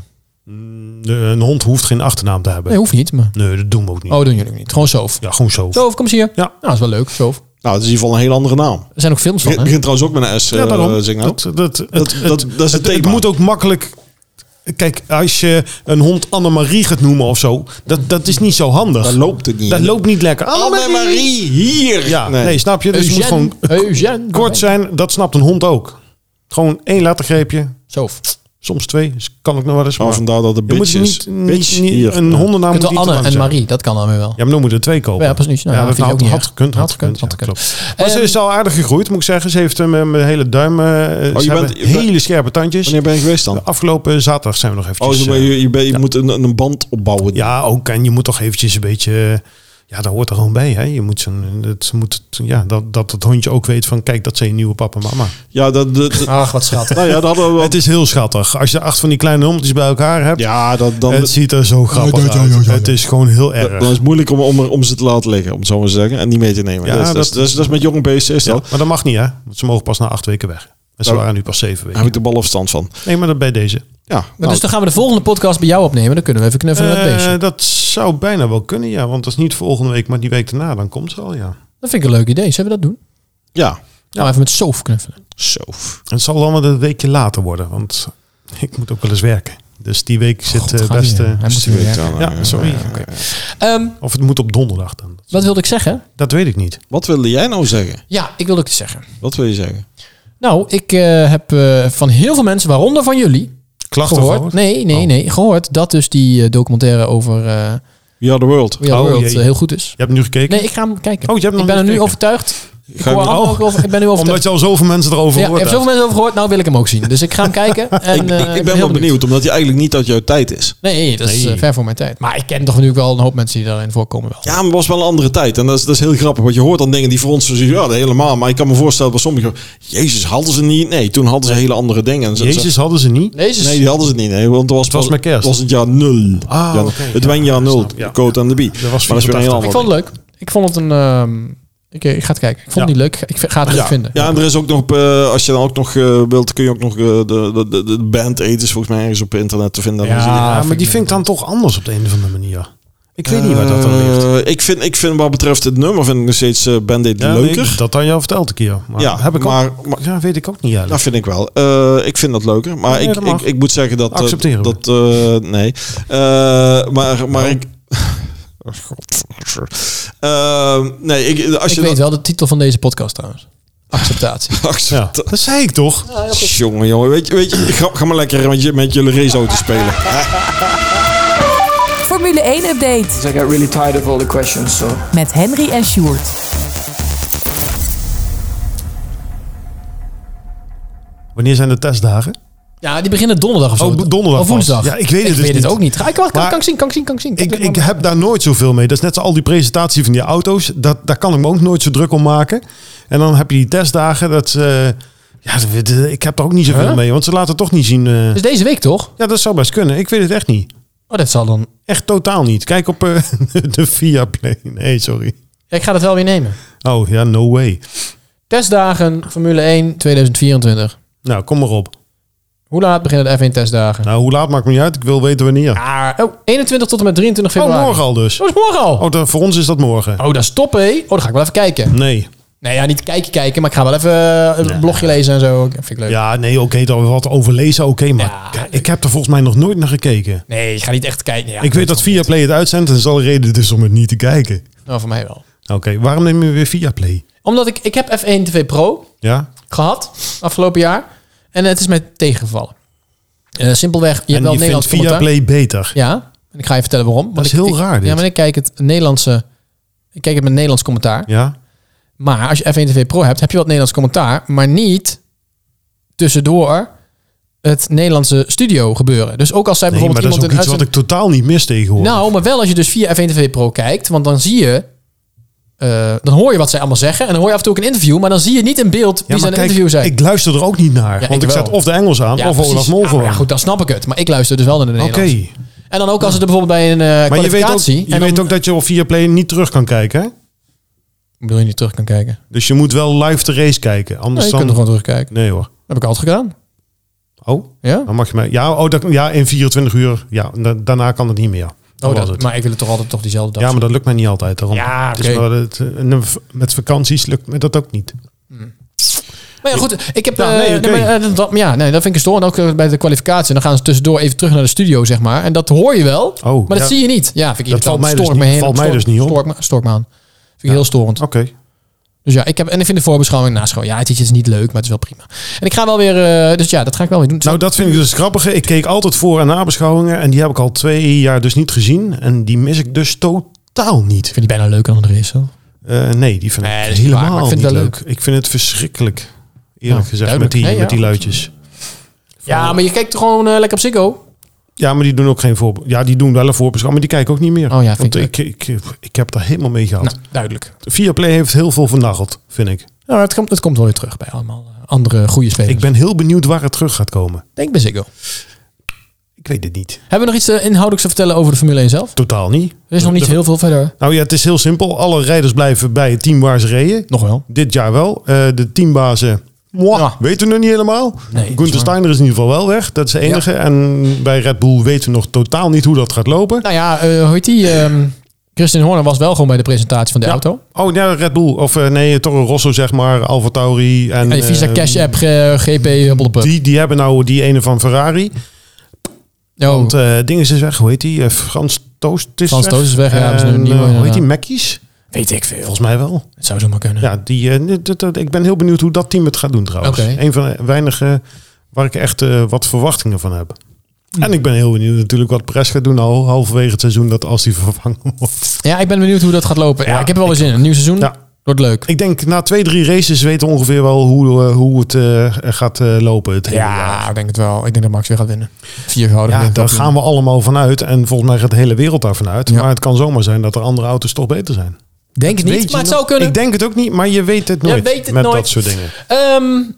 S1: De- een hond hoeft geen achternaam te hebben.
S2: Nee, hoeft niet, maar...
S1: Nee, dat doen we ook niet.
S2: Oh, doen jullie ook niet. Gewoon Zoof.
S1: Ja, gewoon zoof.
S2: Zoof, kom eens hier.
S1: Ja.
S2: Nou, dat is wel leuk, Zoof.
S3: Nou, dat is in ieder geval een heel andere naam.
S2: Er zijn ook films van,
S3: Het
S2: hè?
S3: begint trouwens ook met een S.
S1: Ja,
S3: eh,
S1: daarom.
S3: zingen.
S1: Dat, dat, het,
S3: dat-
S1: het-
S3: dat is het
S1: het
S3: thema.
S1: moet ook makkelijk... Kijk, als je een hond Annemarie gaat noemen of zo, dat, dat is niet zo handig.
S3: Dan loopt het niet.
S1: Dat loopt niet lekker.
S3: Annemarie. Hier.
S1: Ja, nee. snap je? Dus je moet
S2: Eugène.
S1: gewoon
S2: Eugène.
S1: kort zijn. Dat snapt een hond ook. Gewoon één lettergreepje.
S2: Zoof.
S1: Soms twee. Dus kan ook nog wel eens.
S3: Maar Oh, vandaar dat de
S1: je moet
S3: bitch is.
S1: niet, niet,
S3: Bitch.
S1: niet-
S3: Hier.
S1: een hondennaam
S2: Kunt
S1: moet niet
S2: wel
S1: te
S2: Anne
S1: lang
S2: en
S1: zijn.
S2: Marie. Dat kan dan weer wel.
S1: Ja, maar dan moeten er twee kopen.
S2: Ja, precies. Nou,
S1: ja,
S2: ja,
S1: dat
S2: vind
S1: had,
S2: ik ook niet
S1: had
S2: erg.
S1: gekund. Had,
S2: Had gekund,
S1: gekund.
S2: had
S1: ja,
S2: gekund.
S1: klopt.
S2: Eh,
S1: Maar ze is al aardig gegroeid, moet ik zeggen. Ze heeft hem eh, mijn hele duim. eh, ze
S3: bent-
S1: hebben
S3: Oh, je bent-
S1: hele scherpe tandjes.
S3: Wanneer ben je geweest dan?
S1: De afgelopen zaterdag zijn we nog
S3: Oh,
S1: eventjes...
S3: zo ben
S1: eh,
S3: je, je, ben- je moet een, een band opbouwen.
S1: ja, ook. En je moet toch eventjes een beetje... eh, Ja, dat hoort er gewoon bij. Hè? Je moet, zo'n, het, moet het- ja, dat, dat het hondje ook weet van... Kijk, dat zijn je nieuwe papa en mama.
S3: Ja, dat... dat, dat-
S2: Ach, wat schattig.
S3: nou ja, dat hadden we wel-
S1: Het is heel schattig. Als je acht van die kleine hondjes bij elkaar hebt...
S3: Ja, dat, dan,
S1: het ziet er zo grappig
S2: ja, ja, ja,
S1: uit.
S2: ja.
S1: Het is gewoon heel erg.
S3: Dan is het moeilijk om, om, er- om ze te laten liggen, om het zo maar te zeggen. En niet mee te nemen.
S1: Ja,
S3: dat, is- dat,
S1: dat-
S3: is- dat, is, dat is met jonge beesten is
S1: Ja,
S3: dat.
S1: maar dat mag niet, hè? Want ze mogen pas na acht weken weg. En ze
S3: Nou,
S1: waren nu pas zeven
S3: Daar heb
S1: weken.
S3: ik de balafstand van.
S1: Nee, maar dat bij deze.
S3: Ja,
S2: Maar
S3: nou,
S2: dus dan gaan we de volgende podcast bij jou opnemen. Dan kunnen we even knuffelen met het
S1: Eh,
S2: beestje.
S1: dat zou bijna wel kunnen, ja. Want dat is niet volgende week, maar die week daarna, dan komt ze al, ja.
S2: Dat vind ik een leuk idee. Zullen we dat doen?
S3: ja.
S2: Nou, even met Sof knuffelen.
S3: Zo.
S1: En het zal dan wel een weekje later worden, want ik moet ook wel eens werken. Dus die week zit
S2: God,
S1: eh,
S2: gaat
S1: best...
S2: niet, hè.
S1: eh,
S2: Hij moet
S1: st-
S2: weer werken.
S1: ja, sorry.
S2: Ehm,
S1: Of het moet op donderdag dan.
S2: wat wilde ik zeggen?
S1: Dat weet ik niet.
S3: Wat wilde jij nou zeggen?
S2: Ja, ik wilde ook iets zeggen.
S3: Wat wil je zeggen?
S2: Nou, ik eh, heb eh, van heel veel mensen, waaronder van jullie,
S1: Klachten
S2: gehoord.
S1: gehoord?
S2: Nee, nee, nee. Gehoord dat dus die eh, documentaire over eh
S3: We are the world.
S2: We Are The
S1: Oh,
S2: World
S1: jee.
S2: eh, heel goed is.
S1: Je hebt nu gekeken?
S2: Nee, ik ga hem kijken.
S1: Oh, je hebt hem nog
S2: ik ben
S1: niet
S2: er nu
S1: gekeken.
S2: overtuigd. Ik,
S3: Ga je
S2: hoor
S3: hem-
S2: allemaal
S1: Oh.
S2: ook over, ik ben nu
S1: Omdat
S2: overtuigd.
S1: je al zoveel mensen erover
S2: Ja, ik
S1: hoort
S2: heb
S1: hebt.
S2: zoveel mensen over gehoord. Nou wil ik hem ook zien. Dus ik ga hem kijken. En, eh,
S3: ik, ik ben
S2: heel
S3: wel benieuwd, omdat hij eigenlijk niet uit jouw tijd is.
S2: Nee, dat is
S1: Nee.
S2: eh, ver voor mijn tijd. Maar ik ken toch nu wel een hoop mensen die daarin voorkomen wel.
S3: Ja, maar het was wel een andere tijd. En dat is, dat is heel grappig. Want je hoort dan dingen die voor ons zo zeggen, ja, dat helemaal. Maar ik kan me voorstellen bij sommigen, Jezus, hadden ze niet? Nee, toen hadden ze hele andere dingen. En ze- ze-
S1: Jezus hadden ze niet.
S2: Jezus.
S3: Nee, die hadden ze het niet. Nee, want het was,
S1: was
S3: pas-
S1: met kerst.
S3: Het was het jaar nul.
S1: Ah,
S3: Ja,
S1: oké,
S3: het
S1: ja,
S3: wijnjaar
S1: ja,
S3: nul.
S1: snap, ja.
S3: Code aan de bie.
S1: was
S3: maar dat is weer een heel
S1: 84.
S3: ander
S2: ik vond het leuk. Ik vond het een... ehm, ik, ik ga het kijken. Ik vond het
S1: Ja.
S2: niet leuk. Ik ga het leuk
S3: ja.
S2: vinden.
S3: Ja, en er is ook nog, eh, als je dan ook nog eh, wilt, kun je ook nog eh, de, de, de, de band eten. is volgens mij ergens op internet te vinden. Dan zie je-
S1: Ja, maar die vind ik dan toch anders op de een of andere manier. Ik weet niet waar dat dan ligt.
S3: Eh, ik, vind, ik vind wat betreft het nummer vind ik nog steeds eh Band Aid
S1: Ja,
S3: leuker.
S1: nee, dat had je al verteld een keer. Maar Nou,
S3: Ja,
S1: heb ik
S3: maar-
S1: ook,
S3: maar-
S1: ja, weet ik ook niet eigenlijk.
S3: Dat vind ik wel. Eh, ik vind dat leuker. Maar
S1: Nee,
S3: ik,
S1: dat
S3: ik,
S1: mag.
S3: ik moet zeggen dat... eh,
S1: Accepteren we.
S3: dat eh, nee. Eh, maar maar ik... Oh, God. Eh, nee, ik, als
S2: Ik
S3: je
S2: weet
S3: dat-
S2: wel de titel van deze podcast trouwens. Acceptatie.
S1: ja,
S3: Accept-
S1: dat zei ik toch?
S3: Jongen, jongen. Weet je, weet je ga, ga maar lekker met, je, met jullie raceauto spelen.
S4: Formule 1 update
S5: I got really tired of all the questions, so
S4: met Henry en Sjoerd.
S1: Wanneer zijn de testdagen?
S2: Ja, die beginnen donderdag of zo.
S1: Oh,
S2: toch?
S1: donderdag
S2: Of woensdag.
S1: pas. Ja, ik weet het dus
S2: weet het
S1: niet.
S2: ook niet. Ga ik wel, kan,
S1: Maar-
S2: kan ik zien, kan ik zien, kan ik zien. Kan
S1: Ik,
S2: lekker
S1: ik
S2: maar-
S1: heb daar nooit zoveel mee. Dat is net als al die presentatie van die auto's. Dat, daar kan ik me ook nooit zo druk om maken. En dan heb je die testdagen. Dat, eh, ja, dat- dat- ik heb daar ook niet zoveel
S2: Huh?
S1: mee. Want ze laten het toch niet zien. eh.
S2: Dus deze week toch?
S1: ja, dat zou best kunnen. Ik weet het echt niet.
S2: Oh, dat zal dan...
S1: Echt totaal niet. Kijk op eh, de Via Play. Nee, sorry.
S2: Ja, ik ga dat wel weer nemen.
S1: Oh ja, no way.
S2: Testdagen Formule 1 2024.
S1: Nou, kom maar op.
S2: Hoe laat beginnen de F1 testdagen?
S1: Nou, hoe laat maakt me niet uit. Ik wil weten wanneer.
S2: Ah, oh, 21 tot en met 23 februari.
S1: Oh, morgen al dus.
S2: Oh, is morgen al.
S1: Oh, dan, voor ons is dat morgen.
S2: Oh, dat is top, hé. Oh, dan ga ik wel even kijken.
S1: Nee.
S2: Nee, ja, niet kijken, kijken, maar ik ga wel even eh, een blogje lezen en zo. Vind ik leuk.
S1: Ja, nee, oké. dan wat overlezen, oké. maar
S2: Ja,
S1: k- ik heb er volgens mij nog nooit naar gekeken.
S2: Nee, ik ga niet echt kijken. Ja,
S1: ik weet dat Viaplay het uitzendt en dat is al een reden dus om het niet te kijken.
S2: Nou, voor mij wel.
S1: Oké, waarom neem je weer Viaplay?
S2: Omdat ik, ik heb F1 TV Pro.
S1: Ja?
S2: gehad afgelopen jaar. En het is mij tegengevallen. Eh, simpelweg, je hebt
S1: en
S2: wel
S1: je vindt
S2: Nederlands commentaar.
S1: Viaplay beter.
S2: Ja, en ik ga je vertellen waarom. Want
S1: is
S2: ik-
S1: heel
S2: ik-
S1: raar, dit.
S2: Ja, maar ik kijk het Nederlandse... Ik kijk het met Nederlands commentaar.
S1: Ja?
S2: Maar als je F1 TV Pro hebt, heb je wat Nederlands commentaar. Maar niet tussendoor het Nederlandse studio gebeuren. Dus ook als zij
S1: Nee, maar
S2: bijvoorbeeld
S1: dat is ook iets
S2: iemand een
S1: wat
S2: uitzending-
S1: ik totaal niet mis tegenwoordig.
S2: nou, maar wel als je dus via F1 TV Pro kijkt, want dan zie je. eh, dan hoor je wat zij allemaal zeggen. En dan hoor je af en toe ook een interview. Maar dan zie je niet in beeld
S1: ja,
S2: wie
S1: maar
S2: zijn
S1: kijk,
S2: interview zijn.
S1: ik luister er ook niet naar.
S2: Ja,
S1: want
S2: ik
S1: ik, zet
S2: wel.
S1: of de Engels aan of Olaf Mol
S2: Ja, maar
S1: gewoon.
S2: ja, goed, dan snap ik het. Maar ik luister dus wel naar de
S1: Oké.
S2: Nederlandse. En dan ook als het er bijvoorbeeld bij een eh
S1: Maar je weet, ook,
S2: kwalificatie...
S1: je
S2: en dan-
S1: weet ook dat je op Viaplay niet terug kan kijken, hè?
S2: Ik bedoel, je niet terug kan kijken.
S1: Dus je moet wel live de race kijken.
S2: Nee,
S1: Anders
S2: je kunt
S1: dan...
S2: er gewoon terugkijken.
S1: Nee hoor.
S2: Dat heb ik altijd gedaan.
S1: Oh?
S2: Ja?
S1: Dan mag je mij. Ja, oh, dat, ja in 24 uur. Ja, da- daarna kan het niet meer. Dat
S2: Oh,
S1: was
S2: dat,
S1: het.
S2: maar ik wil het toch altijd toch diezelfde dag
S1: ja, maar dat lukt mij niet altijd. Daarom.
S2: Ja,
S1: Het is
S2: oké.
S1: maar dat- en een v- met vakanties lukt me dat ook niet.
S2: Maar ja, goed, ik heb...
S1: Ja,
S2: eh,
S1: nee, oké.
S2: maar, eh, dat- dat- ja, nee, dat vind ik storend. Ook eh, bij de kwalificatie. En dan gaan ze tussendoor even terug naar de studio, zeg maar. En dat hoor je wel,
S1: Oh,
S2: maar dat
S1: ja.
S2: zie je niet. Ja, vind ik
S1: Dat valt mij
S2: irritant.
S1: dus
S2: me
S1: niet-
S2: heen-
S1: valt mij
S2: stoort-
S1: dus niet op. Oh.
S2: Stoort me, stoort me aan. Vind ik heel storend.
S1: Oké.
S2: Dus ja, ik heb... En ik vind de voorbeschouwing naast gewoon... Ja, het is niet leuk, maar het is wel prima. En ik ga wel weer... eh, dus ja, dat ga ik wel weer doen.
S1: Nou, dat vind ik dus grappig. Ik keek altijd voor- en nabeschouwingen. En die heb ik al twee jaar dus niet gezien. En die mis ik dus totaal niet.
S2: Ik vind die bijna leuker dan de race, hoor.
S1: Eh, nee, die vind ik
S2: Nee, dat is niet waar,
S1: helemaal
S2: maar ik vind
S1: niet
S2: het wel
S1: leuk. Ik vind het verschrikkelijk. Eerlijk
S2: Ja,
S1: gezegd, met
S2: duidelijk.
S1: die,
S2: Nee, ja.
S1: met die luidjes.
S2: Ja, maar je kijkt gewoon eh, lekker op Ziggo.
S1: Ja, maar die doen ook geen voor. Ja, die doen wel een voorbeschouwing, maar die kijken ook niet meer.
S2: Oh ja, vind
S1: Want
S2: ik
S1: ik, ik, ik, heb daar helemaal mee gehad.
S2: Nou, duidelijk.
S1: Viaplay heeft heel veel vernageld, vind ik.
S2: Nou, het, komt, het komt wel weer terug bij allemaal eh, andere goede spelers.
S1: Ik ben heel benieuwd waar het terug gaat komen.
S2: denk bij Ziggo.
S1: Ik weet het niet.
S2: Hebben we nog iets eh, inhoudelijks te vertellen over de Formule 1 zelf?
S1: Totaal niet.
S2: Er is nog niet heel veel verder.
S1: Nou ja, het is heel simpel. Alle rijders blijven bij het team waar ze reden.
S2: Nog wel.
S1: Dit jaar wel. Eh, de teambazen Mwah,
S2: Ja.
S1: Weten we nog niet helemaal.
S2: Nee, dat is
S1: Gunther
S2: waar.
S1: Steiner is in ieder geval wel weg. Dat is de enige. En bij Red Bull weten we nog totaal niet hoe dat gaat lopen.
S2: Nou ja, eh hoe heet die? ehm Christian Horner was wel gewoon bij de presentatie van de auto.
S1: Oh, ja, Red Bull. Of eh, nee, Toro Rosso zeg maar. Alfa Tauri. En,
S2: En de Visa
S1: eh,
S2: Cash App, eh, GP, blablabla.
S1: Die, die hebben nou die ene van Ferrari.
S2: Oh,
S1: Want eh dingen is weg. Hoe heet die? Eh, Frans Toost is
S2: Frans
S1: weg.
S2: Toost is weg, ja, hebben ze nu een
S1: En,
S2: nieuwe,
S1: eh, hoe heet die?
S2: inderdaad.
S1: Mackies?
S2: weet ik veel.
S1: Volgens mij wel.
S2: Het zou zomaar kunnen.
S1: Ja, die, eh, dit- dit- dit- ik ben heel benieuwd hoe dat team het gaat doen trouwens.
S2: Oké.
S1: Een van de weinige waar ik echt eh, wat verwachtingen van heb.
S2: Hm.
S1: En ik ben heel benieuwd natuurlijk wat Perez gaat doen al halverwege het seizoen. Dat als die vervangen wordt.
S2: Ja, ik ben benieuwd hoe dat gaat lopen. Ja,
S1: Ja,
S2: ik heb er wel eens in. Een nieuw seizoen
S1: Ja.
S2: wordt leuk.
S1: Ik denk na twee, drie races weten we ongeveer wel hoe, eh, hoe het eh, gaat eh, lopen. Het hele jaar.
S2: Ja, ik denk het wel. Ik denk dat Max weer gaat winnen. Vier gehouden.
S1: Ja, daar gaan we allemaal vanuit. En volgens mij gaat de hele wereld daarvan uit.
S2: Ja.
S1: Maar het kan zomaar zijn dat er andere auto's toch beter zijn.
S2: Denk het niet,
S1: Weet je
S2: maar het
S1: nog-
S2: zou kunnen.
S1: Ik denk het ook niet, maar je weet het nooit.
S2: weet het
S1: met
S2: nooit.
S1: dat soort dingen.
S2: Ehm,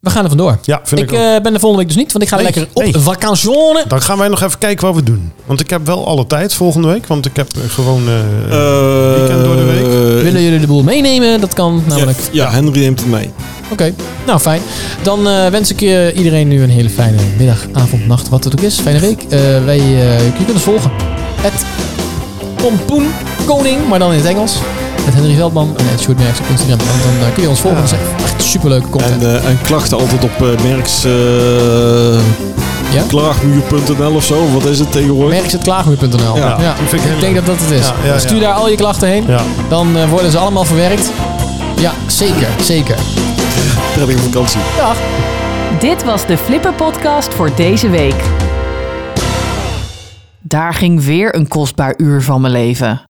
S2: we gaan er vandoor.
S1: Ja, vind ik,
S2: ik
S1: ook.
S2: eh, ben er volgende week dus niet, want ik ga
S1: Nee,
S2: lekker op
S1: nee.
S2: vakantie.
S1: Dan gaan wij nog even kijken wat we doen. Want ik heb wel alle tijd volgende week. Want ik heb eh, gewoon... eh,
S3: Eh,
S1: Weekend door de week.
S3: eh,
S2: Willen jullie de boel meenemen? Dat kan namelijk.
S3: ja, ja, Henry neemt het mee.
S2: Oké, nou fijn. Dan eh, wens ik eh, iedereen nu een hele fijne middag, avond, nacht, wat het ook is. Fijne week. Eh, wij, eh je kunt ons volgen. Het Pompoen Koning, maar dan in het Engels. Met Henry Veldman en het Sjoerd Merks op Instagram. Want dan eh, kun je ons volgen. Dat is echt superleuke content.
S3: En, eh, en klachten altijd op eh, merks... eh,
S2: Ja?
S3: klaagmuur.nl of zo. Wat is het tegenwoordig?
S2: Merks het klaagmuur.nl.
S3: Ja,
S1: vind ik
S2: ik,
S1: heel
S2: denk dat dat het is.
S1: Ja, ja,
S2: Dan Stuur
S1: ja.
S2: daar al je klachten heen.
S1: Ja.
S2: Dan eh, worden ze allemaal verwerkt. Ja, zeker, zeker.
S3: prettige vakantie.
S2: Dag.
S4: Dit was de Flipper Podcast voor deze week. Daar ging weer een kostbaar uur van mijn leven.